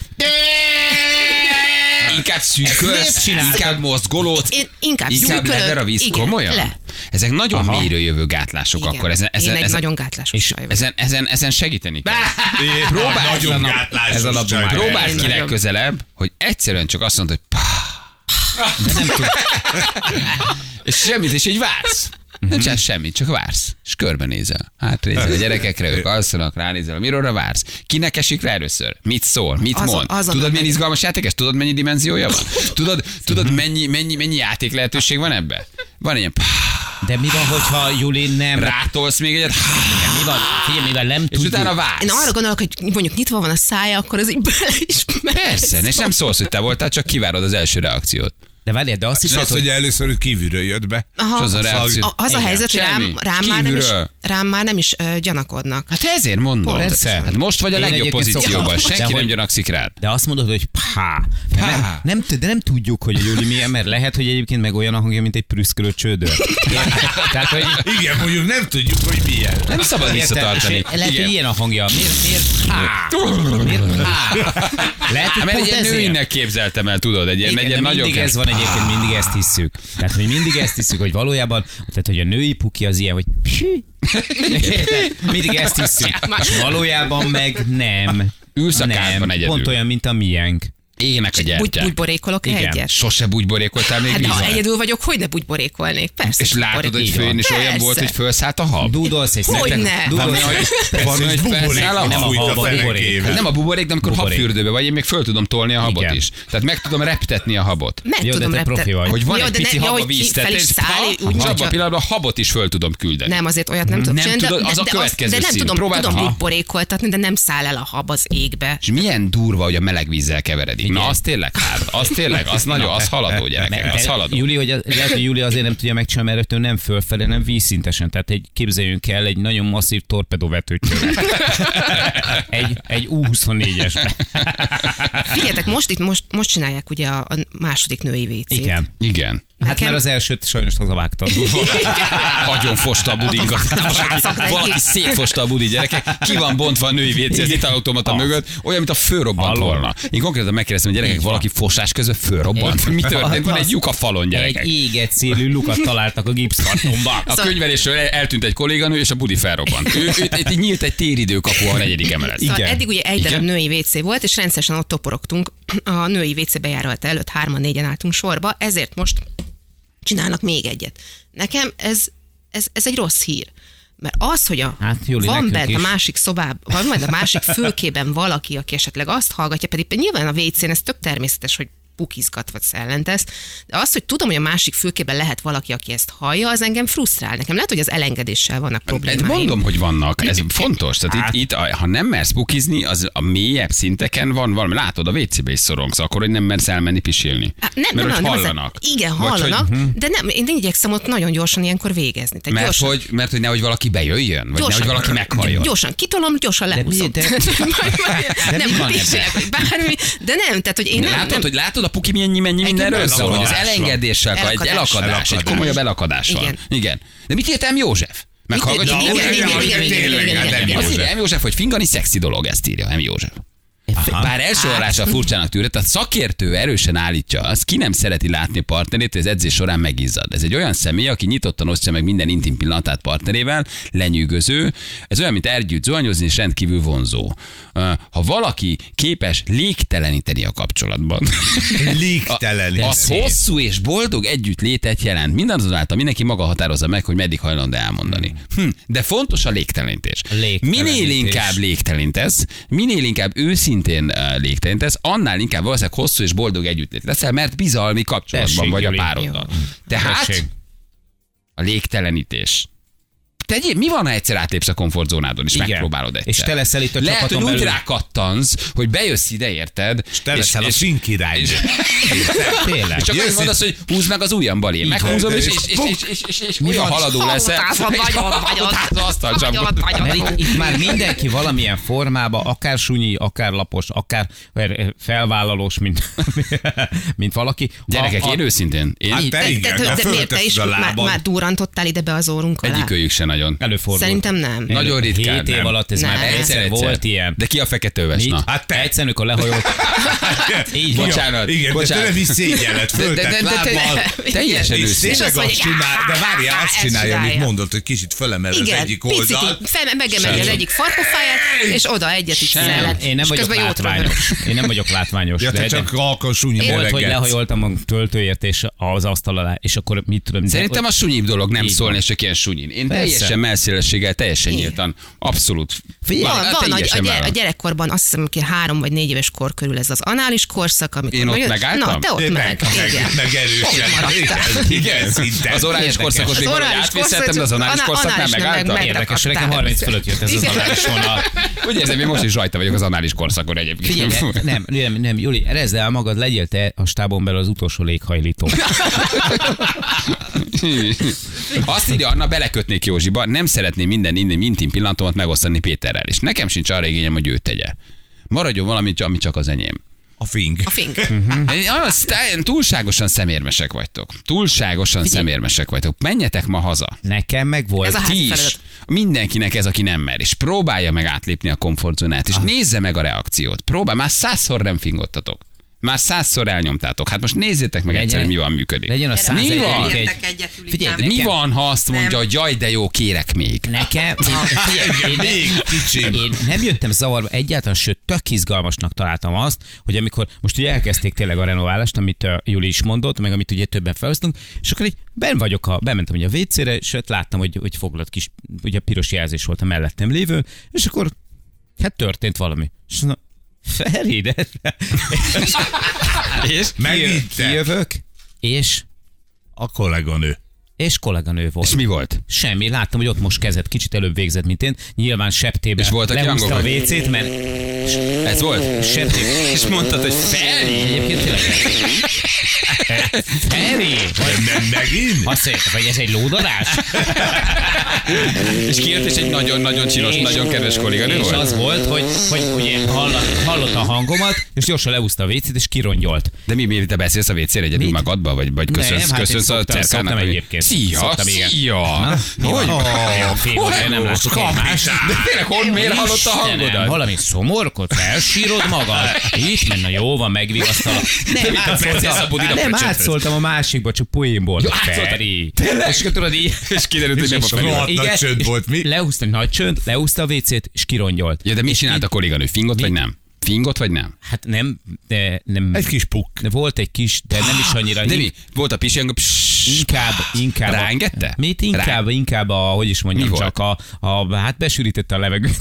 Inkább
miért
szűkös,
csináltad?
inkább mozgolót,
Én inkább
inkább
szűkölök.
leder a víz.
Igen,
Komolyan?
le.
Ezek nagyon
Aha.
mélyről jövő gátlások
igen.
akkor. Ezen, ezen,
én egy
ezen,
nagyon gátlásos
és
saj vagyok.
ezen, ezen, ezen segíteni kell. Próbálj
Nagyon
ezen a-
gátlásos
ezen a-
csaj.
Próbálj
Én
ki
nagyon-
legközelebb, hogy egyszerűen csak azt mondod, hogy pá. De nem tud. És semmit, és így vársz. Nem csinálsz semmit, csak vársz. És körbenézel. Hátrézel a gyerekekre, ők alszanak, ránézel a mirrorra, vársz. Kinek esik rá először? Mit szól? Mit
Azon-
mond?
azon
tudod,
nem
milyen izgalmas játék ez? Tudod, mennyi dimenziója van? Tudod, tudod mennyi, mennyi, mennyi játék lehetőség van ebbe? Van ilyen, pá,
De mi van, hogyha Juli nem...
rátolsz még egyet,
Mi van? Figyelj, mivel nem
és
tudjuk.
utána vársz.
Én arra gondolok, hogy mondjuk nyitva van a szája, akkor az így bele is megy.
Persze, és nem szólsz, hogy te voltál, csak kivárod az első reakciót.
De De várjál, de azt is
És az, hogy először kívülről jött be.
Aha.
És az
Szóval,
a reakció.
A, az a
Igen,
helyzet, hogy rám,
semmi.
rám, már nem is,
Kívülről.
rám már nem is ö, gyanakodnak.
Hát ezért mondom.
Persze.
Hát most vagy a
Én
legjobb
egyébként
pozícióban.
szoktam. De
Senki nem
hogy-
gyanakszik rád.
De azt mondod, hogy pá. De Nem, nem, tud- de nem tudjuk, hogy a Júli milyen, mert lehet, hogy egyébként meg olyan a hangja, mint egy prüszkölő csődör. Tehát, hogy
Igen, mondjuk nem tudjuk, hogy milyen.
Nem szabad
Érted?
visszatartani.
És Lehet,
Igen.
hogy ilyen a hangja. Miért? Miért? Pá. Miért? Pá. Lehet, hogy
Hát, Mert egy
pont
ilyen
ezért.
nőinek képzeltem el, tudod, egy ilyen,
Igen,
egy
de
ilyen nagyon
mindig ez van egyébként, mindig ezt hisszük. Tehát, hogy mindig ezt hisszük, hogy valójában, tehát, hogy a női puki az ilyen, hogy psí. Érted? mindig ezt hiszük. És valójában meg nem.
Ülsz a kádban
nem.
egyedül.
Pont olyan, mint a miénk.
Ének a
Bugy,
gyertyák.
bugyborékolok
Igen.
egyet.
Sose bugyborékoltál még
Hát de ha
vízzel.
egyedül vagyok, hogy ne bugyborékolnék? Persze.
És látod,
bugyborék-
hogy
Így
főn
van.
is olyan
Persze.
volt, hogy felszállt a hab.
Dúdolsz egy
Hogyne?
szekre-
Van
Dúdolsz
olyan,
egy
van olyan, hogy felszáll a
nem
hab.
a
fújt
hab, a
fenekében.
buborék.
Hát nem a buborék, de amikor
Buborék.
habfürdőbe vagy, én még föl tudom tolni a habot
Igen.
is. Tehát meg tudom reptetni a habot.
Meg
Jó, de
tudom
te
repte-
profi vagy.
Hogy van egy
de
pici
ne- ja,
hab a
hogy
víz
ki- fel is száll,
tetején,
így úgy,
és abban
hogyha-
a pillanatban a habot is föl tudom küldeni.
Nem, azért olyat nem tudok
Nem
csinálni,
tudod, az a
de,
következő
de nem
szint.
tudom,
Próbáld,
tudom
ha.
bugyborékoltatni, de nem száll el a hab az égbe.
És milyen durva, hogy a meleg vízzel keveredik. Na, az tényleg hát, az tényleg, az nagyon, az haladó gyerekek, az haladó.
Júli, hogy az, lehet, hogy Júli azért nem tudja megcsinálni, mert ő nem fölfelé, nem vízszintesen. Tehát egy, képzeljünk el egy nagyon masszív torpedóvetőt. egy, egy U24-es.
Figyeljetek, most itt most, most csinálják ugye a, a második női vécét.
Igen.
Igen.
Hát
Nekem-
mert az elsőt sajnos hazavágtad.
Agyon fosta a budinkat.
Valaki-
Valaki szétfosta a budi gyerekek. Ki van bontva a női WC az italautomata mögött, olyan, mint a fölrobbant
Hallom.
volna. Én konkrétan megkérdeztem, hogy gyerekek, valaki fosás közben fölrobbant. Mi történt? Van egy lyuk a falon,
Egy
gyerekek.
éget szélű lukat találtak a gipszkartonba.
Szóval-
A könyvelésről el- eltűnt egy kolléganő, és a budi felrobbant. Ő, ő, ő, nyílt egy téridőkapu a negyedik emelet.
Szóval
Igen.
eddig ugye egy
Igen.
darab női WC volt, és rendszeresen ott toporogtunk. A női WC bejárata előtt hárman négyen álltunk sorba, ezért most csinálnak még egyet. Nekem ez, ez, ez egy rossz hír. Mert az, hogy a,
Hát, Juli,
van
nekünk
bent a
is.
másik szobában, van majd a másik fülkében valaki, aki esetleg azt hallgatja, pedig nyilván a WC-n ez tök természetes, hogy pukizgat vagy szellentesz, de az, hogy tudom, hogy a másik fülkében lehet valaki, aki ezt hallja, az engem frusztrál. Nekem lehet, hogy az elengedéssel vannak
Hát
problémáim.
mondom, hogy vannak, ez fontos. Tehát hát. itt, itt, a- ha nem mersz bukizni, az a mélyebb szinteken van valami. Látod, a WC-be is szorongsz, akkor, hogy nem mersz elmenni pisilni.
Hát nem,
mert
nem,
hogy
nem, nem,
hallanak.
Az, igen,
Vagy
hallanak,
Hogy, Mhm.
de nem, én igyekszem ott nagyon gyorsan ilyenkor végezni. Tehát
mert,
gyorsan,
hogy, mert hogy nehogy valaki bejöjjön, vagy nehogy valaki meghalljon.
Gyorsan kitolom, gyorsan lehúzom.
mi- de- de mi
nem,
van
pisilek, vagy bármi, de nem, tehát hogy én nem,
látod,
nem,
hogy látod a puki mennyi, mennyi mindenről
elakadás
szól, hogy az
van.
elengedéssel, elakadás. egy
Elakadás.
elakadás, elakadás, egy
Elakadás.
komolyabb elakadás van. Igen.
Igen.
igen. De mit írt M. József? Meghallgatjuk?
Igen,
Azt
igen,
írja,
igen, igen, igen, igen, igen,
igen,
Azt
igen.
írja M. József, hogy fingani szexi dolog, ezt írja M. József. Bár első hallásra furcsának tűnhet, a szakértő erősen állítja azt, ki nem szereti látni a partnerét, hogy az edzés során megizzad. Ez egy olyan személy, aki nyitottan osztja meg minden intim pillanatát partnerével, lenyűgöző. Ez olyan, mint ergyűt zuhanyozni, és rendkívül vonzó. Ö, Ha valaki képes légteleníteni a kapcsolatban,
Légtelen.
az hosszú és boldog együtt létet jelent. Mindazonáltal mindenki maga határozza meg, hogy meddig hajlandó elmondani. Hm. De fontos a légtelenítés.
Légtelenítés.
Minél inkább légtelintesz, minél inkább őszintén uh, légtelintesz, annál inkább valószínűleg hosszú és boldog együttlét leszel, mert bizalmi kapcsolatban
Tessék,
vagy
Juli.
a pároddal.
Jó.
Tehát
Tessék.
a légtelenítés. Tegyél, mi van, ha egyszer átlépsz a komfortzónádon, és
Igen.
megpróbálod egyszer?
És te leszel itt a
Lehet,
csapaton
hogy úgy
belül.
rákattansz, hogy bejössz ide, érted? És
Te leszel a színkirály.
és-
Tényleg.
és csak annyit
Jössz
mondasz, hogy húzd meg az ujjamban, én meghúzom,
van,
és,
de
és,
és
és,
puk!
és, és, és, és olyan haladó
Halott
leszel.
állva vagy,
És
ott vagy,
halott
ott
állsz az
vagy,
asztalcsapban.
ott vagy, ott
Mert
vagy.
itt, itt már mindenki valamilyen formába, akár sunyi, akár lapos, akár eh, felvállalós, mint, mint valaki. A-
Gyerekek,
a-
én őszintén, én
Hát te
de,
igen,
de,
de
de miért te
fölteszed
is
a
már,
lábad.
már durrantottál ide be az órunk alá?
egyikőjük se nagyon.
Előfordul.
Szerintem nem.
Én
Nagyon ritkán,
Hét év
nem.
alatt ez
Nem.
már egyszer volt ilyen.
De ki a fekete öves?
Mit?
Na.
Hát te. Egyszerűen, amikor lehajolt. Így van.
Hát, Bocsánat.
Igen, de
bocsánat.
tőlem is szégyenlet,
De- de- de-
föltett
de- de-
lábbal.
Teljesen
És
őszintén.
És azt
tényleg azt
mondja,
csinál, de várjál, azt
ezt
csinálja, amit
csinálja.
mondott, hogy kicsit fölemel az
Igen,
egyik oldalt.
picit, fel, megemeli az
Sem.
egyik farkofáját, és oda egyet is
Sem.
szellet.
Én nem
és
vagyok
közben jót röhög.
látványos. Én nem vagyok látványos.
Ja,
de-
te
de-
csak alkal súnyi
Volt, hogy
meleget.
lehajoltam a töltőért és az asztal alá, és akkor mit tudom... de-
Szerintem a sunyibb dolog nem
Így
szólni,
van.
és csak ilyen sunyin. Én
Persze.
teljesen teljesen melszélességgel, teljesen
Igen.
nyíltan, abszolút.
Van,
Már-
van a, a,
teljesen
gyere, a
vállalom.
gyerekkorban azt hiszem, hogy három vagy négy éves kor körül ez az anális korszak, amikor
Én ott
nagyon-
megálltam?
Na, te ott
Meg,
meg.
meg,
igen.
meg erősen.
maradtál?
Igen, szinte.
Az orális
Érdekes.
korszakot
Az
még valahogy
orális
átvészeltem, de az
korszak-
anális
ana-
korszaknál
anális nem, meg-
megálltam.
meg-
Érdekes, hogy nekem
Kaptál.
30 fölött jött ez az
Igen.
adás vonal.
Úgy érzem, én most is rajta vagyok az anális korszakon
Figyelj,
egyébként.
ne- nem, nem, nem, Juli, rezd el magad, legyél te a stábon belül az utolsó léghajlító.
Azt írja Anna, belekötnék Józsiba, nem szeretném minden innen intim pillanatomat megosztani Péterrel, és nekem sincs arra igényem, hogy ő tegye. Maradjon valami, ami csak az enyém.
A fing.
A fink.
Az, túlságosan szemérmesek vagytok. Túlságosan szemérmesek vagytok. Menjetek ma haza.
Nekem meg volt.
Ez a-
Ti is.
feladat.
Mindenkinek ez, aki nem mer, és próbálja meg átlépni a komfortzónát,
Ah.
és nézze meg a reakciót. Próbál, már százszor nem fingottatok. Már százszor elnyomtátok. Hát most nézzétek meg
Legyen-
egyszer, hogy mi van működik.
Legyen a
Gyere,
Mi van?
százezerik
Értek
egy...
egyet, Juli,
Figyelj,
nem?
Mi
Nekem-
van, ha azt mondja, hogy jaj, de jó, kérek még?
Nekem, én, én,
Még kicsim.
én nem jöttem zavarba egyáltalán, sőt, tök izgalmasnak találtam azt, hogy amikor most ugye elkezdték tényleg a renoválást, amit uh, Juli is mondott, meg amit ugye többen felhoztunk, és akkor így ben vagyok, a, bementem ugye a WC-re, és ott láttam, hogy, hogy foglalt kis, ugye piros jelzés volt a mellettem lévő, és akkor hát történt valami. És mondom, Feri, de... és
Megint te.
kijövök, és,
A kolléganő.
és kolléganő volt.
És mi volt?
Semmi, láttam, hogy ott most kezed kicsit előbb végzett, mint én. Nyilván septében
És voltak
lehúzta a
gyangok, vagy?
WC-t, mert
Ez volt?
septében...
És mondtad, hogy Feri?
Egyébként tényleg... Feri!
Nem, nem megint?
Azt mondja, vagy ez egy lódarás?
És kijött, és egy nagyon-nagyon csinos,
És-
nagyon kedves kolléganő
És
volt?
az volt, hogy, hogy ugye hallott, hallott a hangomat, és gyorsan leúzta a WC-t, és kirongyolt.
De mi, miért te beszélsz a WC-re egyedül
Mit?
magadba, vagy, vagy köszönsz,
hát én
köszönsz a
szoktam-
cerkának?
szoktam
vagy-
egyébként.
Szia,
Szoktam, igen.
szia!
mi
Hogy
van? Olyan fény volt,
Hogy-
nem látok
Kapitány!
egymást.
De tényleg, hogy miért hallott a
Istenem,
hangodat?
Valami szomorkod, felsírod magad. Itt menne, jó van, megvigasztalak.
mint a Princess Abudin a
nem
pöcsöt.
átszóltam a másikba, csak poénból.
Jó, átszóltál.
Feri.
Tényleg?
És akkor tudod így...
És kiderült, hogy nem a
rohadt
Feri.
nagy csönd
és
volt, mi?
Leúzta, nagy csönd, leúzta a WC-t, és kirongyolt.
Ja, de mit csinált a kolléganő? Fingot vagy nem? Fingot vagy nem?
Hát nem, de nem...
Egy kis pukk.
Volt egy kis, de nem is annyira...
De
in-
mi? Volt a pisilyen,
Inkább, inkább. a-
Ráengedte?
Mit inkább, inkább a, hogy is mondjam,
Mi
csak a, a, hát besűrítette a levegőt.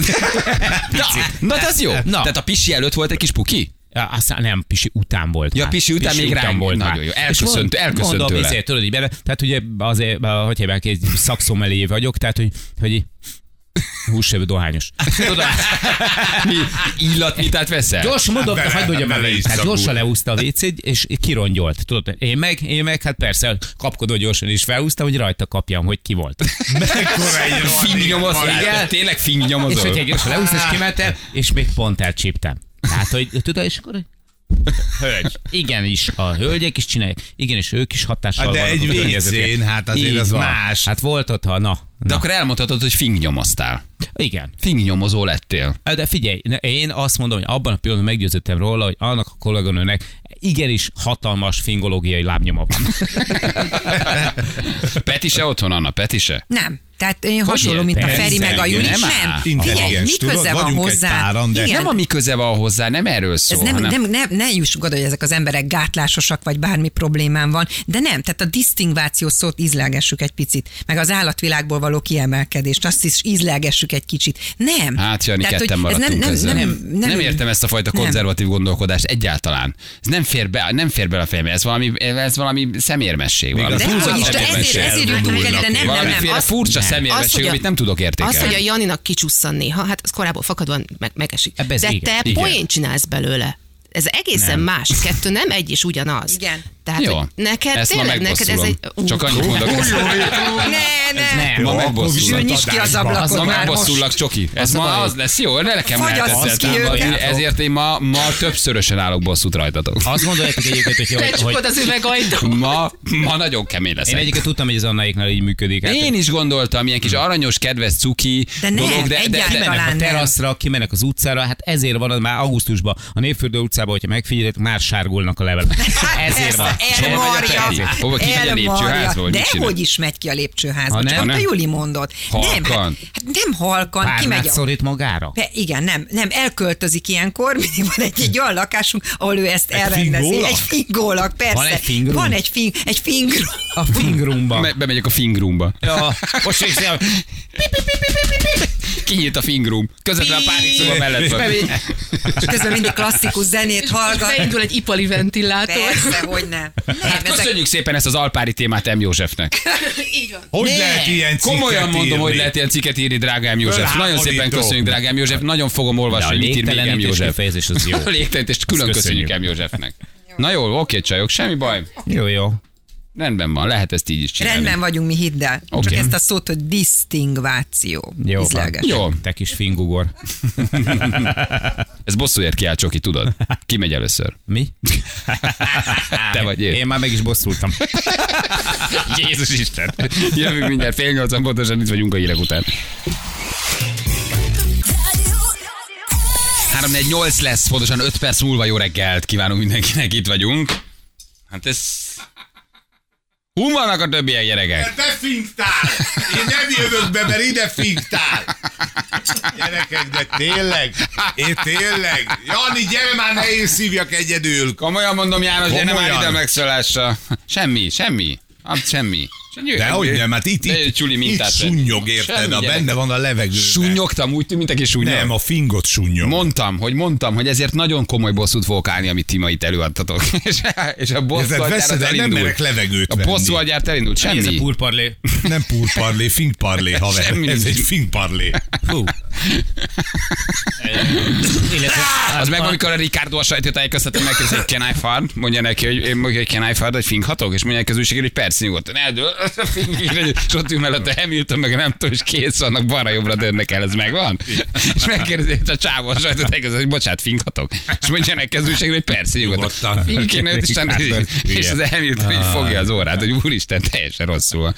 Na, na, de az jó.
Na.
Tehát a pisi előtt volt egy kis puki?
Ja, Aztán nem, Pisi után volt.
Ja,
már.
Pisi után még ránk- nagyon
már.
jó.
És
Elköszönt-
mond-
elköszönt
mondom,
tőle.
Ezért, tudod, így bele, tehát ugye azért, ah, hogy hívják, egy szakszomeléjé vagyok, tehát hogy, hogy így- hússevő dohányos. Tudod,
Mi illatmitát veszel?
Gyorsan mondom,
Hát
hát,
bele-
hagyd mondjam
bele
el,
is
hát
szagul.
gyorsan leúzta a vécét, és kirongyolt. Tudod, én meg, én meg, hát persze, kapkodó gyorsan is felhúztam, hogy rajta kapjam, hogy ki volt.
Mekkora egy
Fingi
rohadt
nyomoz, igen? Tényleg fingi
és
nyomozol?
hogy egy gyorsan leúztam, és kimentem, és még pont elcsíptem. Tehát, hogy tudod, és akkor Hölgy. Igen is, a hölgyek is csinálják, igen, és ők is hatással
Hát de
vannak
egy
a
WC-n,
környezetükre.
hát azért
Így
az
van.
más.
Hát volt ott, ha na.
De
na.
akkor elmondhatod, hogy fing nyomoztál.
Igen.
Fing nyomozó lettél.
De figyelj, ne- én azt mondom, hogy abban a pillanatban meggyőződtem róla, hogy annak a kolléganőnek igenis hatalmas fingológiai lábnyoma van.
Peti se otthon, Anna, Peti se.
Nem. Tehát én hasonló, mint a
persze,
Feri meg a Juli.
nem
Nem,
áll.
nem. Figyelj,
Intelligens,
mi
tudod,
köze van
vagyunk egy
hozzá?
páran, de-
Igen.
Nem a mi köze van hozzá, nem erről
ez
szól.
nem,
hanem...
nem, nem, ne jussunk oda, hogy ezek az emberek gátlásosak, vagy bármi problémám van, de nem, tehát a disztingváció szót ízlelgessük egy picit, meg az állatvilágból való kiemelkedést, azt is ízlelgessük egy kicsit. Nem.
Hát, Jani,
Tehát,
ketten
hogy ez
maradtunk
nem,
ezzel.
nem, nem, nem,
nem értem ezt a fajta
nem.
konzervatív gondolkodást egyáltalán. Ez nem fér be, nem fér be a fejembe, ez valami, ez valami szemérmesség. Valami
De
túlzott
hogy is, de ezért,
szemérmesség.
ezért jöttünk el ide, nem, nem, nem.
Valamiféle
azt-
furcsa
Az,
szemérmesség,
hogy a-
amit nem tudok értékelni.
Az, hogy a Janinak kicsusszan néha, hát az korábban fakadóan meg, megesik.
Ebbe ez
De
igen.
te
Igen.
poént csinálsz belőle. Ez egészen
Nem.
nem. más. Kettő nem egy és ugyanaz.
Igen.
Tehát
Jó.
hogy neked
Ezt ma
tényleg, neked ez egy...
megbosszulom. Csak annyit mondok, ezt-
Ne, ne.
Nem.
Ma
Jó,
megbosszulok.
akkor
Nyisd ki az
adásban.
Az ma
ablakot már most.
megbosszulak, Csoki. Ez ma az lesz, jó? Ne nekem lehet
Fagyasszuk
ezzel
ki
támadni.
őket.
Ezért én ma, ma többszörösen állok bosszút rajtatok.
Azt gondoljátok egyébként, hogy, hogy, hogy
Lecsukod az üvegajtót.
Ma, ma nagyon kemény
én
leszek.
egyébként tudtam, hogy az Annaiknál így működik. Hát
Én is gondoltam, ilyen
Mm.
kis aranyos, kedves cuki
De ne,
dolog, de, de, de,
egyáltalán
de,
kimennek a
nem.
teraszra, kimennek az utcára, hát ezért van az már augusztusban. A Népfürdő utcában, hogyha megfigyeltek, már sárgulnak a levelek.
Hát
ezért
persze.
van.
elmarja.
Hova kimegy a lépcsőházba, vagy
De
mit csinál?
hogy is megy ki a lépcsőházba,
Ha
ha
nem?
nem? csak
Ha
amit
nem?
a Juli mondott. Nem, hát,
Halkan.
hát nem halkan,
Párnát
kimegy a...
szorít magára.
Pe- Igen, nem, nem, elköltözik ilyenkor, mindig van egy, egy olyan lakásunk, ahol ő ezt elrendezi.
fingólak?
Egy fingólak, persze.
Van egy fingrunk?
Van egy, fing, egy fingrunk.
A fingrumba.
Me- bemegyek a fingrumba.
Ja, most is
Kinyílt a fingrum. Közvetlen a párizszoba mellett van.
És közben mindig klasszikus zenét hallgat.
Beindul egy ipari ventilátor.
Persze, hogy nem. Nem, ezek
Hát Köszönjük szépen ezt az alpári témát M. Józsefnek.
Így van.
Hogy lehet ilyen
Komolyan
cikket
mondom,
írni?
hogy lehet ilyen cikket írni, drágám József.
Fölháborító.
Nagyon szépen köszönjük, drágám József. Nagyon fogom olvasni,
De a
hogy mit ír még M.
légtelenítés
József.
kifejezés az jó.
A légtelenítést külön
Azt
köszönjük
köszönjük.
M. Józsefnek. Na jól, oké, csajok, semmi baj.
Jó, jó.
Rendben van, lehet ezt így is csinálni.
Rendben vagyunk mi, hidd el.
Oké.
Csak ezt a szót, hogy disztingváció.
Jó van.
Ízleges.
Jó,
Te kis fingugor.
ez bosszúért kiáll, Csoki, tudod? Ki megy először?
Mi?
Te vagy én.
Én már meg is bosszultam.
Jézus Isten. Jövünk mindjárt fél nyolcan, pontosan itt vagyunk a hírek után. 348 lesz, pontosan 5 perc múlva jó reggelt kívánunk mindenkinek, itt vagyunk. Hát ez... Hun vannak a többiek gyerekek?
Te fingtál! Én nem jövök be, mert ide fingtál! Gyerekek, de tényleg? Én tényleg? Jani, gyere már, ne én szívjak egyedül!
Komolyan mondom, János, de nem
Komolyan.
áll ide a megszólásra. Semmi, semmi. Absz, semmi.
Dehogy nem, hát itt,
De Csuli
itt, itt
mintát vett.
sunnyog, érted?
Semmi,
A
gyerek.
benne van a levegőben.
Sunnyogtam, úgy tűnt, mindenki sunnyog.
Nem, a fingot sunnyog.
Mondtam, hogy mondtam, hogy ezért nagyon komoly bosszút fogok állni, amit ti ma itt előadtatok. és, és a bosszú
Ezért
agyár
veszed
az
el, nem
elindult.
merek levegőt
A bosszú
venni.
agyárt elindult,
Ez a
semmi.
purparlé.
Nem púrparlé, fingparlé, haver.
Semmi
Ez
nincs.
egy fingparlé.
Hú. Illetve,
Az meg, amikor a Ricardo a sajtótájékoztatón megkérdezi, hogy can I fart? Mondja neki, hogy én mondja, hogy can I fart, hogy finghatok? És mondják az újságért, hogy persze nyugodtan eldől. És ott ül mellette Hamilton, meg nem tudom, és kész vannak, balra jobbra dönnek el, ez megvan. És megkérdezi hogy a csávó a sajtótájékoztatón, hogy bocsánat, finghatok? És mondja neki az újságért, hogy persze nyugodtan.
Nyugodtan.
Fing kéne, és aztán- És az Hamilton
Ah.
így fogja az órát, hogy úristen, teljesen rosszul. van.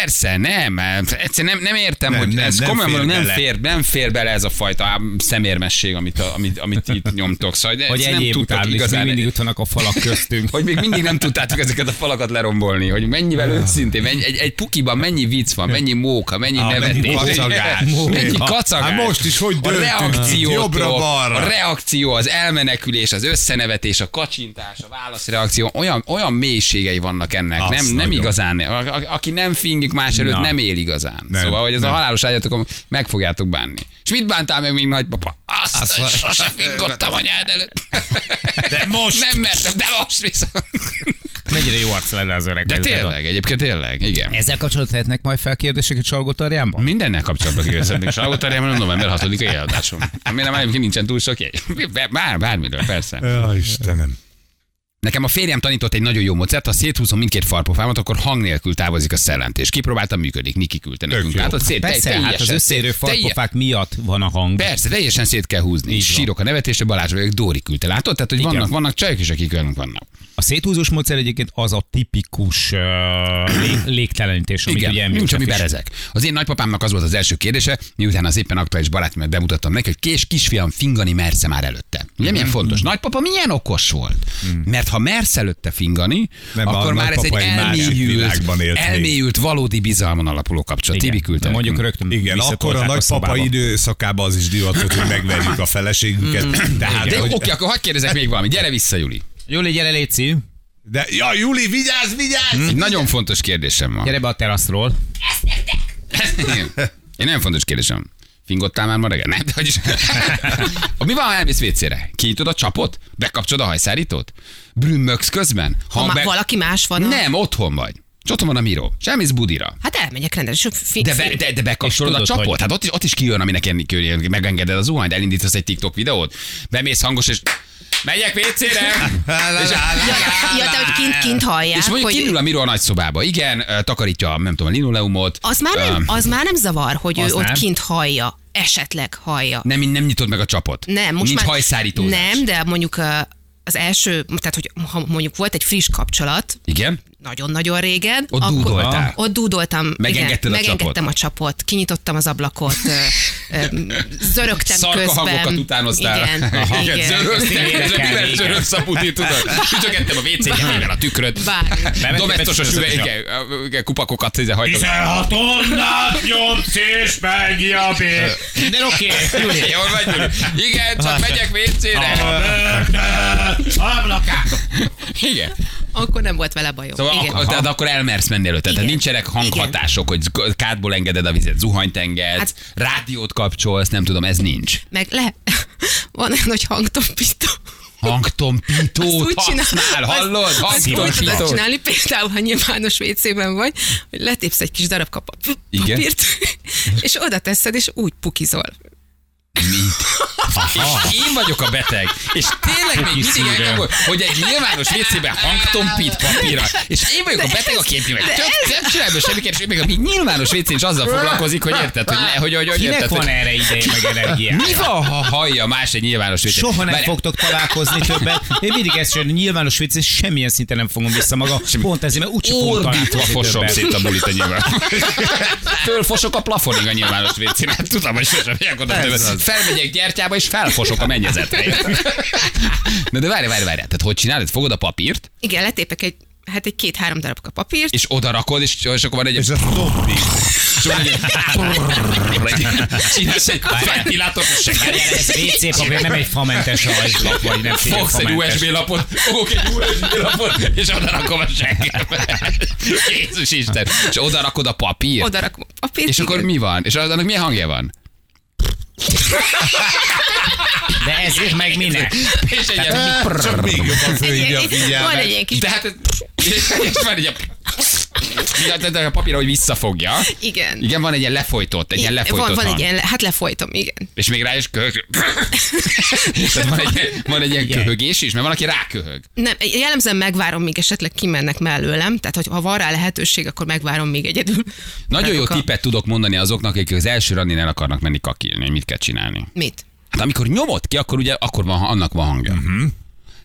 Persze, nem, hát egyszerűen nem, nem értem,
Nem,
hogy
nem,
ez
nem
komolyan
fér
mondom, nem
bele.
fér, nem fér bele ez a fajta ám, szemérmesség, amit, a, amit, amit itt nyomtok. Szóval, de
hogy
ezt
egy
nem
év
tudtok
után is még
igazán,
mindig ott vannak a falak köztünk.
hogy még mindig nem tudtátok ezeket a falakat lerombolni, hogy mennyivel őszintén, mennyi, egy, egy pukiban mennyi vicc van, mennyi móka, mennyi
Ah,
nevetés,
mennyi kacagás.
mennyi
Móka.
kacagás.
Hát most is hogy
a
döntünk
reakció,
itt, jobbra-balra.
a reakció, E az elmenekülés, az összenevetés, a kacsintás, a válaszreakció, olyan, olyan mélységei vannak ennek,
Azt
nem, nem
nagyon.
igazán, a, a, aki nem fingik más előtt,
Na.
nem él igazán.
Nem,
szóval, hogy ez a
nem.
halálos ágyatokon meg fogjátok bánni. És mit bántál meg még nagypapa? Azt, Azt hogy sose fingottam anyád előtt.
De most!
Nem mertem, de most viszont.
Mennyire jó arc lenne az öreg.
De
ez- ez a-
tényleg, egyébként tényleg, igen.
Ezzel kapcsolatban tehetnek majd fel kérdéseket Csalgótarjánban?
Mindennel kapcsolatban kérdezhetnék Salgótarjában a november 6-a jeladásom. Amire már egyébként nincsen túl sok jegy. Bár, bármiről, persze.
Ja, Istenem.
Nekem a férjem tanított egy nagyon jó módszert, ha széthúzom mindkét farpofámat, akkor hang nélkül távozik a szellentés. Kipróbáltam, működik, Niki küldte nekünk.
jó.
Hát, ott szét,
Persze,
teljesen-
hát az összeérő
teljes-
farkofák miatt van a hang.
Persze, teljesen szét kell húzni.
Így
és
van.
sírok a nevetésre, Balázs vagyok, Dóri küldte. Látod? Tehát, hogy
Igen.
vannak, vannak csajok is, akik olyanok vannak.
A széthúzós módszer egyébként az a tipikus uh, lé- légtelenítés, amit
Igen,
ugye
nincs,
említettem
ami
is.
berezek. Az én nagypapámnak az volt az első kérdése, miután az éppen aktuális barátomat bemutattam neki, hogy kés kisfiam fingani mersze már előtte. Ugye milyen
Mhm.
fontos? Nagypapa milyen okos volt? Mert ha mersz előtte fingani,
Nem,
akkor
a
már ez egy
nagypapa egy másik
elmélyült,
világban élt még.
elmélyült valódi bizalmon alapuló kapcsolat. Tibi küldte.
de mondjuk
nekünk.
rögtön
Igen, akkor a
visszatolták
nagypapa
szobába.
időszakában az is divatott, hogy megverjük a feleségünket. Tehát,
Mm. de
hogy-
oké, akkor hagyd kérdezek még valamit. Gyere vissza, Juli.
Jól így gyere, Léci.
De, ja, Juli, vigyázz, vigyázz!
Egy nagyon fontos kérdésem van.
Gyere be a teraszról.
Én nem fontos kérdésem. Fingottál már ma reggel? Nem, de hogy is. Mi van, ha elmész vécére? Kinyitod a csapot? Bekapcsolod a hajszárítót? Brümmögsz közben?
Ha
be-
már valaki más van. a-
Nem, otthon vagy. És otthon van a miró. Semmisz budira.
Hát elmegyek rendesen. Fi-
De, be, de, de bekapcsolod
És
a
tudod,
csapot?
hogy-
Hát ott is, ott is kijön, aminek enni kell, megengeded az zuhanyt, elindítasz egy TikTok videót, bemész hangos, és megyek vécére! és,
Ja, ja, de hogy kint, kint hallják,
és mondjuk
hogy
kinyúl a miró a nagyszobába. Igen, ö, takarítja, a, nem tudom, a linoleumot.
az már, nem,
Ö,
az már nem zavar, hogy
az
ő ott
nem.
kint hallja, esetleg hallja.
Nem, nem nyitod meg a csapot.
Nem, most
Nincs
már...
hajszárítózás.
Nem, de mondjuk ö, az első, tehát hogy ha mondjuk volt egy friss kapcsolat,
Igen?
nagyon-nagyon régen.
Ott dúdoltál.
Ott dúdoltam.
Megengedted a
megengedtem
csapot.
a csapot. Kinyitottam az ablakot. ö, ö, Zörögtem
Szarkahangokat
Hát közben.
utánoztál.
Igen, igen.
Zöröztél,
Igen.
közben mivel
Igen.
zörögsz a putit, tudod? Csücsögettem a WC-t, mivel a tükröt.
Bármi.
Bementél,
Domestos
becsukod az
üvegekkel, kupakokat izé ide hajtottam.
16 onnát nyomsz és megjavíts. Minden oké, Júli.
Jól vagy, Gyuri? Igen, csak megyek WC-re.
Ablakát.
Igen.
Akkor nem volt vele bajom.
Szóval
igen.
ak- tehát akkor elmersz menni előtte. Tehát
Igen.
nincsenek hanghatások, hogy zg- kádból engeded a vizet, zuhanyt engedsz,
Hát-
rádiót kapcsolsz, nem tudom, ez nincs.
Meg lehet, van olyan, hogy hangtompító.
Hangtompítót
Azt úgy
használ,
csinál-
hallod?
azt- azt úgy tudod
Hangtompítót.
csinálni, például, ha nyilvános WC-ben vagy, hogy letépsz egy kis darab kapa
Igen.
papírt, és oda teszed, és úgy pukizol.
És
Ah.
én vagyok a beteg. És tényleg még mindig
szívem.
engem, hogy egy nyilvános WC-ben hangtompít papírra. És én vagyok a beteg, aki épp meg nem csinál belőle semmi kérdés, még ami nyilvános WC is azzal foglalkozik, hogy érted, hogy, le, hogy, hogy, hogy
Kinek
érted,
van
hogy-
erre ideje meg energiája?
mi van, ha hallja más egy nyilvános WC?
Soha nem
Várj,
fogtok találkozni többet. Én mindig ezt sem nyilvános vicc, és semmilyen szinten nem fogom vissza maga. Pont ezért, mert úgy sem fogunk
Ordítva
találkozni
fosom
többet.
szét a bulit a nyilván. Fölfosok a plafonig a nyilvános vécén. Hát tudom, hogy sosem vagyok oda.
Ez
többet.
az.
Felmegyek gyertyába, és felfosok a mennyezetre. Na de várj, várj, várj. Tehát hogy csinálod? Fogod a papírt,
Igen, letépek egy, hát egy két-három darabka papírt,
és oda rakod, és, és akkor van egy... És van egy... Csinálsz egy ventilátort, és
Várjál,
sekerjel.
Ez WC papír, nem egy famentes rajzlap, vagy nem tudom,
Fogsz egy
famentes.
USB lapot, fogok egy USB lapot, és oda rakom a seggembe. Jézus Isten. És oda rakod a papírt.
oda rakom a papírt.
És akkor
igen.
mi van? És az- annak milyen hangja van?
De ezért meg minek?
És egy ilyen...
Csak még jobban
Egy-
fölhívja a
egy- van
figyelmet.
egy ilyen kis...
De hát... És van egy ilyen... Ja, de- de a papírra, hogy visszafogja.
Igen.
Igen, van egy ilyen lefolytott, egy ilyen lefolytott
van, van egy
hang.
ilyen, le- hát lefolytom, igen.
És még rá is köhög. Tehát van egy, van egy ilyen köhögés is, mert van, aki ráköhög.
Nem, jellemzően megvárom, míg esetleg kimennek mellőlem, tehát hogy ha van rá lehetőség, akkor megvárom még egyedül.
Nagyon jó
Rátok a-
tippet tudok mondani azoknak, akik az első rannin el akarnak menni kakilni, hogy mit kell csinálni.
Mit?
Hát amikor nyomod ki, akkor ugye akkor van, annak van hangja.
Mhm.
Uh-huh.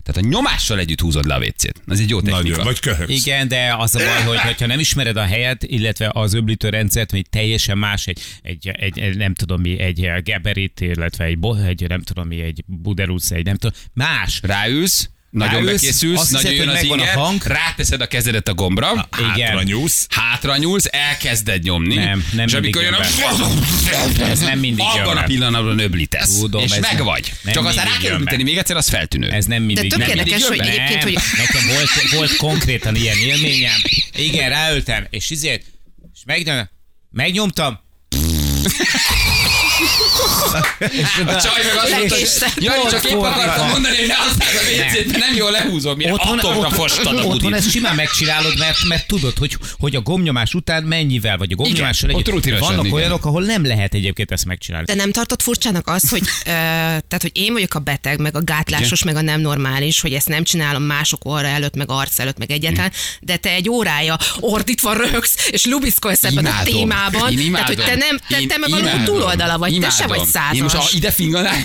Tehát a nyomással együtt húzod le a vécét. Ez egy jó technika.
Nagyon, vagy köhögsz.
Igen, de az a baj, hogy ha nem ismered a helyet, illetve az öblítő rendszert, mert teljesen más egy, egy, egy, egy, nem tudom mi, egy geberit, illetve egy, bo- egy nem tudom mi, egy buderusz, egy nem tudom, más.
Ráülsz, nagyon
Ráülsz,
bekészülsz,
azt
nagyon
hiszed,
jön
hogy
az
megvan a
inger,
hang.
ráteszed a kezedet a gombra,
Hátra nyúlsz.
hátra nyúlsz, elkezded nyomni,
Nem, nem
és amikor jön
mindig
a...
Ez nem mindig jön
Abban a
be.
pillanatban öblítesz,
Tudom,
és
ez nem-
meg vagy.
nem
Csak aztán
mindig
rá kell
jön
öblíteni még egyszer, az feltűnő.
Ez nem mindig.
De tök
nem
érdekes,
mindig jön
hogy
be.
egyébként,
Nem,
hogy-
Nekem volt, volt konkrétan ilyen élményem. Igen, ráültem, és izért, és megnyom, megnyomtam,
a csaj meg azt mondta,
Lekésted.
hogy jaj, csak épp
Fordítva.
akartam mondani, hogy ne aztán a vécét, mert nem jól lehúzom, mire atomra fostad a
otthon
budit.
ezt simán megcsinálod, mert, mert tudod, hogy, hogy a gomnyomás után mennyivel, vagy a gomnyomással
Igen,
együtt.
ott rutinosan,
Vannak
igen.
olyanok, ahol nem lehet egyébként ezt megcsinálni.
De nem tartott furcsának az, hogy, ö, tehát, hogy én vagyok a beteg, meg a gátlásos, meg a nem normális, hogy ezt nem csinálom mások orra előtt, meg arc előtt, meg egyáltalán, de te egy órája ordítva röhögsz, és lubiszkolsz ebben a
Imádom.
témában.
Én
Tehát,
imádom.
hogy te, nem, te,
Én
te meg valami
imádom.
túloldala vagy,
imádom.
te se vagy százas.
Én most ha ide finganál,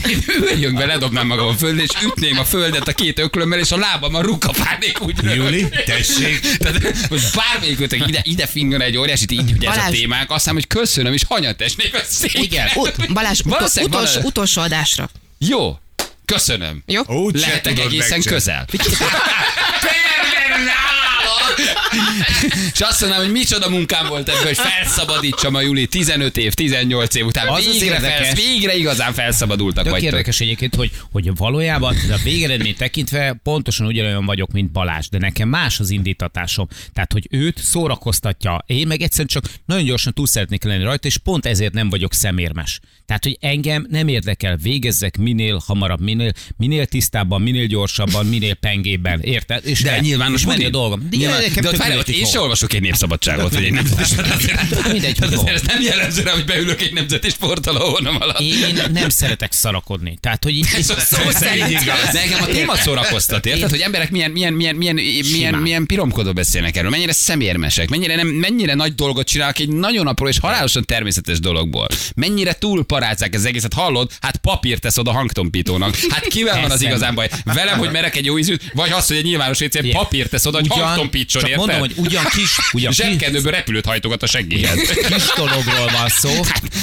üljön be, ledobnám magam a földre, és ütném a földet a két öklömmel, és a lábam a rukapánék úgy röhög.
Juli, tessék.
Tehát most bármelyikőtök ide, ide fingan egy óriásit, így ugye ez a
Balázs.
témánk, azt hiszem, hogy köszönöm, és hanyatesnék a széken.
Igen, ut- Balázs, utol,
Valószínűleg
utolsó,
vala-
utolsó adásra.
Jó, köszönöm.
Jó?
Úgy se
Lehetek
tudod
egészen
megcsinálni.
közel. És azt mondanám, hogy micsoda munkám volt ebből, hogy felszabadítsam a Juli 15 év, 18 év után.
Az az
végre,
érdekes.
felsz, végre igazán felszabadultak
Tök
vagytok.
érdekes egyébként, hogy, hogy valójában a végeredményt tekintve pontosan ugyanolyan vagyok, mint Balázs, de nekem más az indítatásom. Tehát, hogy őt szórakoztatja, én meg egyszerűen csak nagyon gyorsan túl szeretnék lenni rajta, és pont ezért nem vagyok szemérmes. Tehát, hogy engem nem érdekel, végezzek minél hamarabb, minél, minél tisztábban, minél gyorsabban, minél pengében. Érted? És
De
ne-
nyilvános
és menni a
budi.
dolgom. De,
Nyilván,
nekem
de ott
tök
várj, ott
mindegy,
én
hogy
se olvasok egy népszabadságot, vagy egy nemzeti
Mindegy,
Tehát
hogy
azért
hol.
ez nem jellemző rá, hogy beülök egy nemzeti sportalóhonom alatt.
Én nem szeretek szarakodni. Tehát, hogy így,
Ez a szó szerint igaz. De engem a téma szórakoztat, érted, hogy emberek milyen, milyen, milyen, milyen, milyen,
Simán.
milyen piromkodó beszélnek erről, mennyire szemérmesek, mennyire, nem, mennyire nagy dolgot csinálnak egy nagyon apró és halálosan természetes dologból. Mennyire túlparázzák ez egészet, hallod? Hát papírt tesz oda hangtompítónak. Hát kivel van az
Eszembe.
igazán baj? Velem, hogy merek egy jó ízűt, vagy az, hogy egy nyilvános WC-n
Igen.
papírt tesz oda, hogy
Ugyan-
javítson,
Csak
érted?
mondom, hogy ugyan kis, ugyan kis,
Zsebkendőből repülőt hajtogat a
igen,
segélyhez.
kis dologról van szó,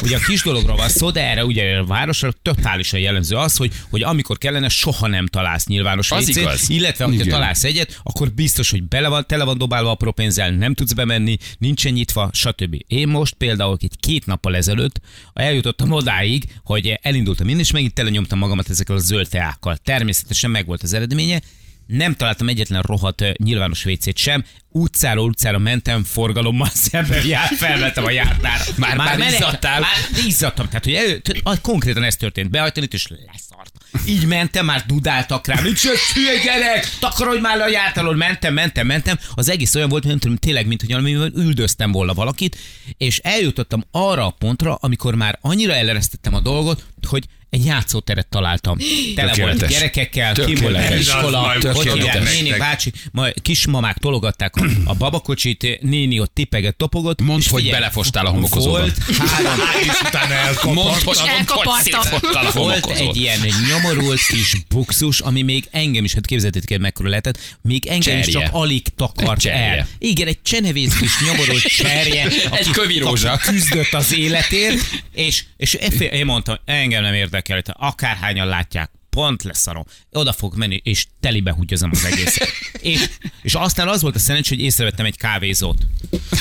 ugye a kis dologról van szó, de erre ugye a városra totálisan jellemző az, hogy, hogy amikor kellene, soha nem találsz nyilvános
Az
WC-t,
igaz.
illetve ha
Igen.
találsz egyet, akkor biztos, hogy bele van, tele van dobálva apró pénzzel, nem tudsz bemenni, nincsen nyitva, stb. Én most például egy két nappal ezelőtt eljutottam odáig, hogy elindultam én, és megint tele nyomtam magamat ezekkel a zöld teákkal. Természetesen megvolt az eredménye, nem találtam egyetlen rohadt ö, nyilvános vécét sem, utcáról utcára mentem, forgalommal szemben jár, felvettem a jártára.
Már- már
menet-
izzadtál?
Már izzadtam, tehát hogy elő, tehát, ah, konkrétan ez történt, behajtani és leszart. Így mentem, már dudáltak rám, mit csinálsz, hülye gyerek, takarodj már le a jártalon, mentem, mentem, mentem. Az egész olyan volt, hogy nem tudom, tényleg, mint hogy valami üldöztem volna valakit, és eljutottam arra a pontra, amikor már annyira eleresztettem a dolgot, hogy egy játszóteret találtam. Tele volt
Tökéletes.
gyerekekkel, ki volt
Tökéletes.
a iskola,
Tökéletes.
ott ugye
Tökéletes.
néni, bácsi, majd kismamák tologatták a babakocsit, néni ott tipeget, topogott.
Mondd,
és
hogy
figyelj,
belefostál a homokozóba.
Volt három,
És utána
Mondd, hogy
elkapott.
mondd, hogy
elkapartam.
szétfottál a
volt egy
homokozót.
ilyen nyomorult kis buxus, ami még engem is, hát képzeljétek el, mekkora lehetett, még engem is
Cserje.
csak alig takart
Cserje.
el. Igen, egy csenevész kis nyomorult cserje,
Egy
aki
kövirózsa.
aki küzdött az életért, és, és efe- én mondtam, engem nem érdekel, hogy akárhányan látják, pont leszarom. Oda fog menni, és telibe húgyozom az egészet. és, és aztán az volt a szerencsé, hogy észrevettem egy kávézót.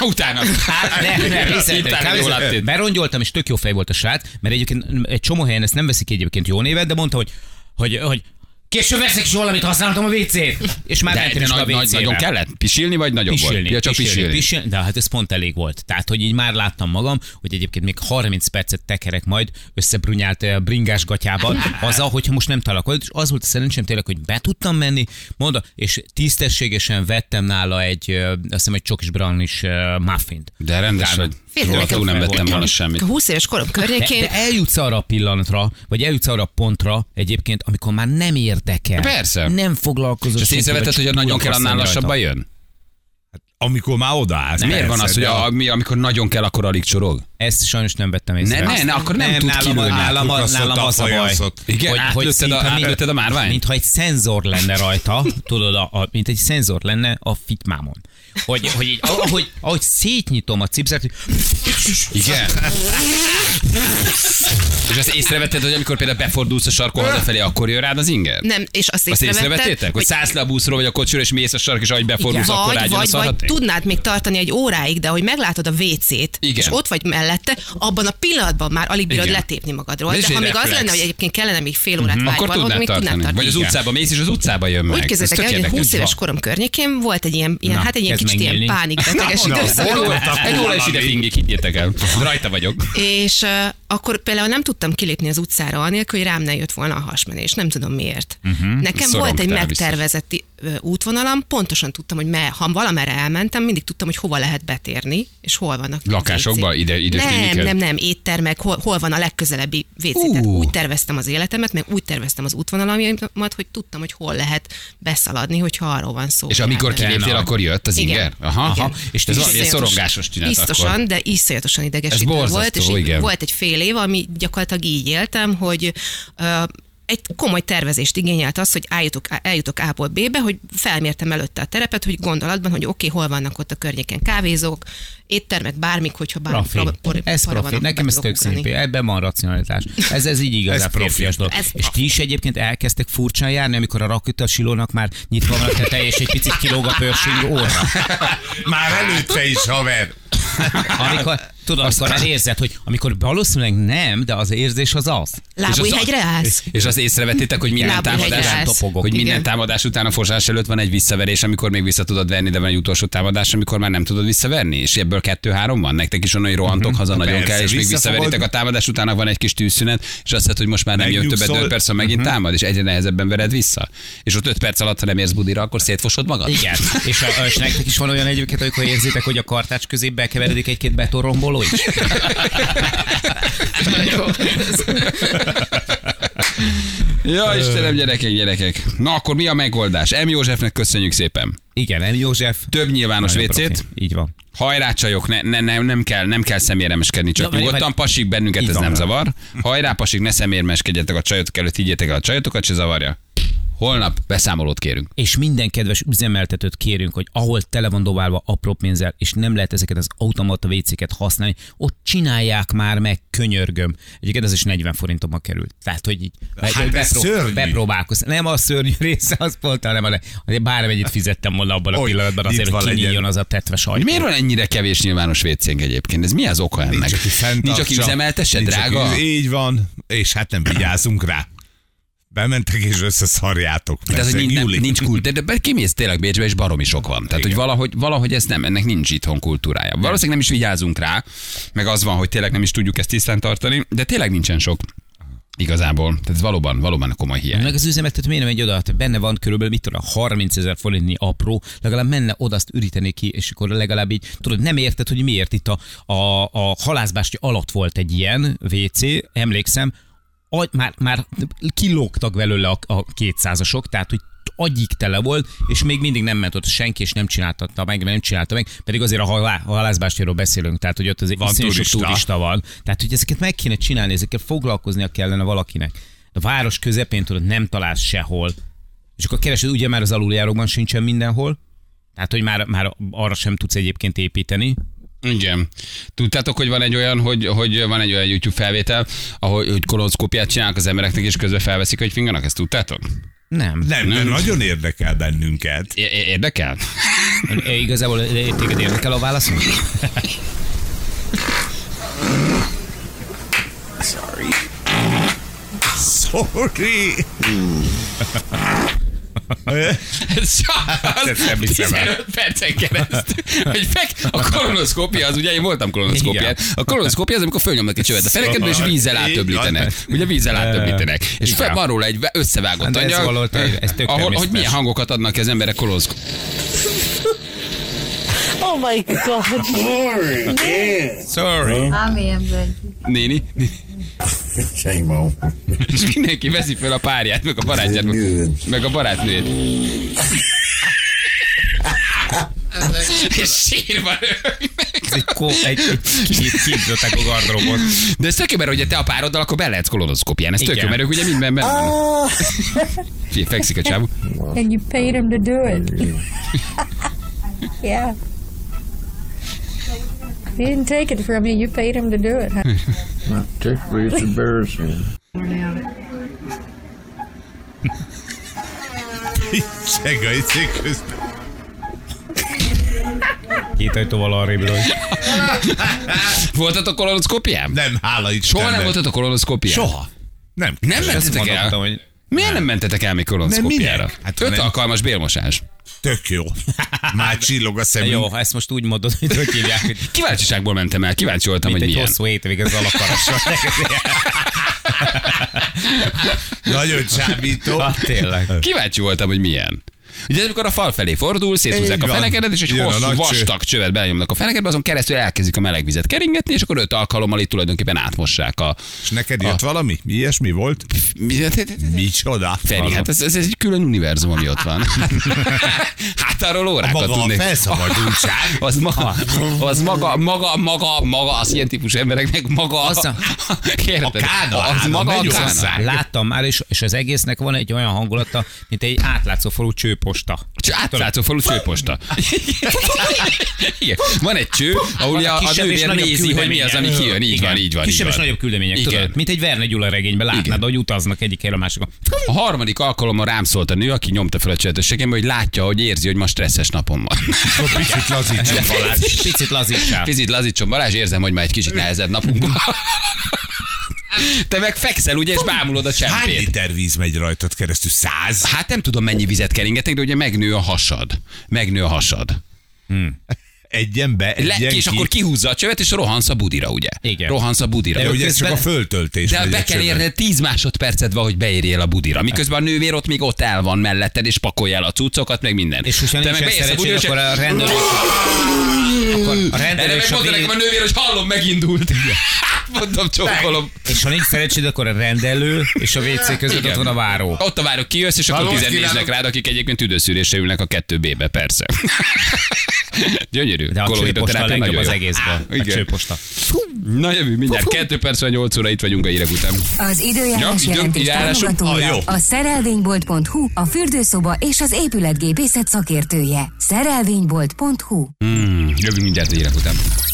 Utána.
Hát nem, nem,
Utána
részletek,
jól
kávézat.
áttét.
Berongyoltam, és tök jó fej volt a srác, mert egyébként egy csomó helyen ezt nem veszik egyébként jó néven, de mondta, hogy, hogy, hogy Később veszek is valamit, használtam a WC-t. És már
De,
mentem
de
is a
nagy, nagy,
WC-re.
nagyon kellett? Pisilni vagy nagyobb volt?
Pisilni,
Ja, csak pisilni.
pisilni. De hát ez pont elég volt. Tehát, hogy így már láttam magam, hogy egyébként még 30 percet tekerek majd összebrunyált eh, bringás gatyában, azzal, hogyha most nem találok olyat, és az volt a szerencsém tényleg, hogy be tudtam menni, mondom, és tisztességesen vettem nála egy, eh, azt hiszem, egy csokis brownies eh, muffint.
De rendes vagy.
Féltem,
Róla
nekem
túl nem
fel
vettem
volt.
volna semmit.
20 éves korom
De,
környékén.
de eljutsz arra a pillanatra, vagy eljutsz arra a pontra egyébként, amikor már nem érdekel.
Persze.
Nem foglalkozol.
És azt
senkivel,
észrevetted,
csak
hogy a nagyon kell,
túlakasztani
annál
rajta.
lassabban jön?
Amikor már odaállsz.
Miért van
persze,
az, hogy
de
a, mi, amikor nagyon kell, akkor alig csorog?
Ezt sajnos nem vettem
Ne,
észre.
ne, ne, akkor nem, tud
nálam,
kilőni.
Nálam,
Átkukasztott,
nálam az a baj.
afajanszott.
Igen, átlőtted a-
szinte-
átlőtted a márványt?
Mintha egy szenzor lenne rajta, tudod, a, a, mint egy szenzor lenne a fitmámon. Hogy, hogy így, ahogy, ahogy szétnyitom a cipzert, hogy
Igen. És azt észrevetted, hogy amikor például befordulsz a sarkon hazafelé, akkor jön rád az inger?
Nem, és azt
Azt észrevettétek?
észrevetted,
Hogy szállsz le a buszról, vagy a kocsira, és mész a sark, és ahogy befordulsz, akkor
vagy,
rágyom a
vagy, vagy
szarhaték?
tudnád még tartani egy óráig, de hogy meglátod a WC-t,
Igen.
és ott vagy mellette, abban a pillanatban már alig bírod
Igen.
letépni magadról.
Ez is
De ha
egy
még az
reflex.
lenne, hogy egyébként kellene még fél órát várni,
Akkor
valamit,
tudnád
még tudnád
tartani.
tartani.
Vagy az
Igen.
utcába mész, és az utcába jön meg.
Úgy
Ez
képzeljétek
tök
el, hogy a
érdekes.
20 éves
Így
korom környékén volt egy ilyen, ilyen
Na,
hát egy ilyen
kezd
kicsit ilyen
megnyílni.
pánikbeteges
van.
időszak.
Egy óra-
volt.
Egy óra is ide fingik, higgyétek el. Rajta vagyok.
És uh, akkor például nem tudtam kilépni az utcára, anélkül, hogy rám ne jött volna a hasmenés. Nem tudom miért. Uh-huh. Nekem
Mhm. Szorongtál
volt egy
biztos.
megtervezett ö, útvonalam, pontosan tudtam, hogy me, ha valamerre elmentem, mindig tudtam, hogy hova lehet betérni, és hol vannak.
Lakásokba?
WC-k.
Ide- ide
Nem,
klinikák?
nem, nem, éttermek, hol, hol van a legközelebbi WC. Tehát
Ú.
úgy terveztem az életemet, meg úgy terveztem az útvonalaimat, hogy tudtam, hogy hol lehet beszaladni, hogyha arról van szó.
És
hogy
amikor
elmentem.
kiléptél,
nagy.
akkor jött az
Igen.
inger? Aha, aha.
Igen.
És ez valami
Iszonyatos-
szorongásos csinált
Biztosan,
akkor.
de iszonyatosan
Ez
idegesítő
borzasztó,
volt, és így
igen.
volt egy fél év, ami gyakorlatilag így éltem, hogy ö, egy komoly tervezést igényelt az, hogy eljutok, eljutok A-ból B-be, hogy felmértem előtte a terepet, hogy gondolatban, hogy oké, hol vannak ott a környéken kávézók, éttermek, bármik, hogyha bármi
Profi.
proba- por-
ez
para
profi.
van,
Nekem
akkor
ez tök
beugrani.
szimpi. Ebben van racionalitás. Ez, ez így igaz.
Ez
a
profi.
férfias dolog.
Ez
és ti is egyébként elkezdtek furcsán járni, amikor a raküt a silónak már nyitva van a teteje, és egy picit kilóg a pörsing óra.
Már előtte is, haver.
Amikor, tudod, amikor már érzed, hogy amikor valószínűleg nem, de az érzés az az.
Lábújhegyre állsz?
És azt észrevettétek, hogy minden
Lábújhegyre
támadás,
állsz.
topogok. hogy minden
Igen.
támadás után a forsás előtt van egy visszaverés, amikor még vissza tudod verni, de van egy utolsó támadás, amikor már nem tudod visszaverni. És ebből kettő-három van. Nektek is onnan, hogy rohantok haza, nagyon
persze,
kell, és még
visszafogod.
visszaveritek a támadás után, van egy kis tűzszünet, és azt hiszed, hogy most már nem jön többet,
Megnyugszol.
5 perc, ha megint támad, és egyre nehezebben vered vissza. És ott 5 perc alatt, ha nem érsz budira, akkor szétfosod magad.
Igen. És, a- és nektek is van olyan egyébként, amikor érzitek, hogy a kartács közé bekeveredik egy-két betonromboló is?
Ja, Istenem, gyerekek, gyerekek. Na akkor mi a megoldás? M. Józsefnek köszönjük szépen.
Igen, El József.
Több nyilvános
Nagyon profi.
WC-t,
Így van.
Hajrá csajok, ne, ne, ne, nem, kell, nem kell szeméremeskedni, csak
Na, vagy-
nyugodtan
vagy-
pasik bennünket,
Így
ez
van.
nem zavar. Hajrá pasik, ne szemérmeskedjetek a csajotok előtt, higgyetek el a csajotokat, se zavarja. holnap beszámolót kérünk.
és minden kedves üzemeltetőt kérünk, hogy ahol tele van dobálva apró pénzzel, és nem lehet ezeket az automata vécéket használni, ott csinálják már meg, könyörgöm. Egyébként ez is 40 forintba került. Tehát, hogy így
Hát ez szörnyű.
bepróbálkozni. Nem a szörnyű része, az volt, hanem a le- azért bármennyit fizettem volna abban a
Oly,
pillanatban
itt
azért, hogy
van egy
kinyíljon
ilyen-
az a tetves
Hogy
ajtó.
miért van ennyire kevés nyilvános vécénk egyébként? Ez mi az oka ennek?
Nincs, aki fenntartsa.
Nincs, aki üzemeltesse,
Nincs,
drága?
Aki, így van, és hát nem vigyázunk rá. Bementek és összeszarjátok.
De az,
persze,
hogy nincs, nem,
Juli.
nincs kult, de, de kimész tényleg Bécsbe, és baromi sok van. Tehát, hogy valahogy, valahogy ez nem, ennek nincs itthon kultúrája. Valószínűleg nem is vigyázunk rá, meg az van, hogy tényleg nem is tudjuk ezt tisztán tartani, de tényleg nincsen sok igazából. Tehát ez valóban, valóban komoly hiány.
Meg az üzemeltető miért nem megy oda? Hát benne van körülbelül, mit tudom, 30 ezer forintnyi apró, legalább menne oda, azt üríteni ki, és akkor legalább így, tudod, nem érted, hogy miért itt a, a, a halászbástya alatt volt egy ilyen WC, emlékszem, agy, már, már kilógtak belőle a, a 200-asok, tehát hogy agyig tele volt, és még mindig nem ment ott senki, és nem csináltatta meg, mert nem csinálta meg, pedig azért a halá- a halászbástyáról beszélünk, tehát hogy ott azért
Van
iszonyú sok
turista.
turista van. Tehát, hogy ezeket meg kéne csinálni, ezekkel foglalkoznia kellene valakinek. A város közepén tudod, nem találsz sehol. És akkor keresed, ugye már az aluljárókban sincsen mindenhol, tehát, hogy már, már arra sem tudsz egyébként építeni.
Igen. Tudtátok, hogy van egy olyan, hogy, hogy van egy olyan YouTube felvétel, ahol hogy kolonckópiát csinálnak az embereknek, és közben felveszik, hogy finganak? Ezt tudtátok?
Nem.
Nem, nem, nagyon érdekel bennünket.
É- é- Érdekel?
E, Igazából e, téged érdekel a válaszom?
Sorry.
Az
Ezt nem hiszem el.
15 percen keresztül. Hogy meg, a kolonoszkópia az, ugye én voltam kolonoszkópián.
Igen.
A kolonoszkópia az, amikor fölnyomnak egy csövet a fenekedbe, és vízzel átöblítenek. Ugye vízzel átöblítenek. És fel van róla egy összevágott
De ez valahol
anyag,
tényleg- ez tök
ahol, hogy
természetes.
milyen hangokat adnak ki az emberek kolonoszkópiára.
Oh my god.
Sorry.
I'm Amber.
Néni, néni.
Shame on.
és mindenki veszi fel a párját, meg a barátját, meg a barátnőjét. És sírva röhögnek.
Ez egy, kó, egy, egy kép, képzöttek a gardróbot.
De ez tök jó, mert hogyha te a pároddal, akkor be lehetsz kolonoszkópián. Ez tök
Igen.
jó, mert ők ugye minden benne van. Fie, fekszik a csávó.
And you paid him to do it. yeah. He didn't take it from you. You paid him to do it. Huh?
Particularly, it's embarrassing.
Segítsék közben.
Két ajtóval arrébről.
Voltatok kolonoszkópián?
Nem, hála itt.
Soha nem voltatok kolonoszkópián?
Soha. Nem.
Nem
kell.
mentetek el?
Mondottam, hogy
Miért nem mentetek el még kolonoszkópiára?
minek?
Hát
Hát,
Öt
nem.
alkalmas bélmosás.
Tök jó. Már csillog a szemünk.
jó, ha ezt most úgy mondod, hogy hogy hívják, hogy
Kíváncsiságból mentem el, kíváncsi voltam,
mint
hogy
egy
milyen.
hosszú hétvég az alakarással.
Nagyon csábító.
Hát tényleg.
Kíváncsi voltam, hogy milyen. Ugye amikor a fal felé fordul, széthúzzák
Így
a
van.
fenekedet, és egy
Jön a
hosszú
nagy cső.
vastag csövet belenyomnak a fenekedbe, azon keresztül elkezdik a meleg vizet keringetni, és akkor öt alkalommal itt tulajdonképpen átmossák a...
És neked
Ah.
jött valami? Ilyesmi volt? Micsoda?
Feri, hát ez, ez, egy külön univerzum, ami ott van. Hát arról órákat
Maga a
tudnék.
felszabadultság.
Az maga, az maga, maga, maga, maga, az ilyen típus embereknek maga.
Az a-
Érted?
a kána
az
állam,
maga a
megyünk
kána.
hozzá.
Láttam már, és, és az egésznek van egy olyan hangulata, mint egy átlátszó falu csőposta.
Cs- Átlátszó falu csőposta. Igen. Van egy cső, ahol
Van
a, a
kisebb és
nővér
nagyobb
nézi, hogy mi az, ami
küldeménye.
kijön. Így
Igen.
van, így van. így
Kisebb és
van.
nagyobb küldemények,
Igen.
tudod? Mint egy Verne Gyula regényben
Igen.
látnád, hogy utaznak egyik helyre a másikon.
A harmadik alkalommal rám szólt a nő, aki nyomta fel a csövetőségembe, hogy látja, hogy érzi, hogy ma stresszes napom van.
Picit lazítsunk Balázs.
Picit lazítsál.
Picit lazítson Balázs, érzem, hogy már egy kicsit nehezebb napunk van. Te meg fekszel, ugye, és bámulod a
Hány
csempét.
liter víz megy rajtad keresztül? Száz?
Hát nem tudom, mennyi vizet keringetek, de ugye megnő a hasad. Megnő a hasad.
Egyen be,
Le,
egyen
és
ki.
akkor kihúzza a csövet, és rohansz a budira, ugye?
Igen.
Rohansz a budira.
De ugye ez csak a
közben-
föltöltés.
De
megy
be
a
kell
csövön.
érned 10 másodpercet van, hogy beérjél a budira. Miközben a nővér ott még ott el van melletted, és pakolja el a cuccokat, meg minden.
És hogyha
Te meg
nincsen
beérsz a budira,
szerencsét,
és
akkor a rendelő... Akkor a
erre
rendelő
meg
és a
mondta nekem a
véd...
nővér, hogy hallom, megindult. Mondom, csókolom.
És ha nincs szerencséd, akkor a rendelő és a WC között
Igen.
ott van a váró.
Ott a várok kijössz, és akkor
Valós
tizen néznek
kívánok.
rád, akik egyébként üdőszűrésre ülnek a kettő B-be, persze. Gyönyörű. eltérő.
De a csőposta a
Kolloidoterápia
legjobb
nagyon
az
jó.
egészben.
Á,
A
igen.
csőposta.
Na jövő mindjárt. 2 perc van 8 óra, itt vagyunk a hírek után.
Az
Ja,
időjárás
idő-
jelentés
időjárásunk?
támogatója
Ah, jó.
a szerelvénybolt.hu, a fürdőszoba és az épületgépészet szakértője. Szerelvénybolt.hu
Hmm, jövő mindjárt a hírek után.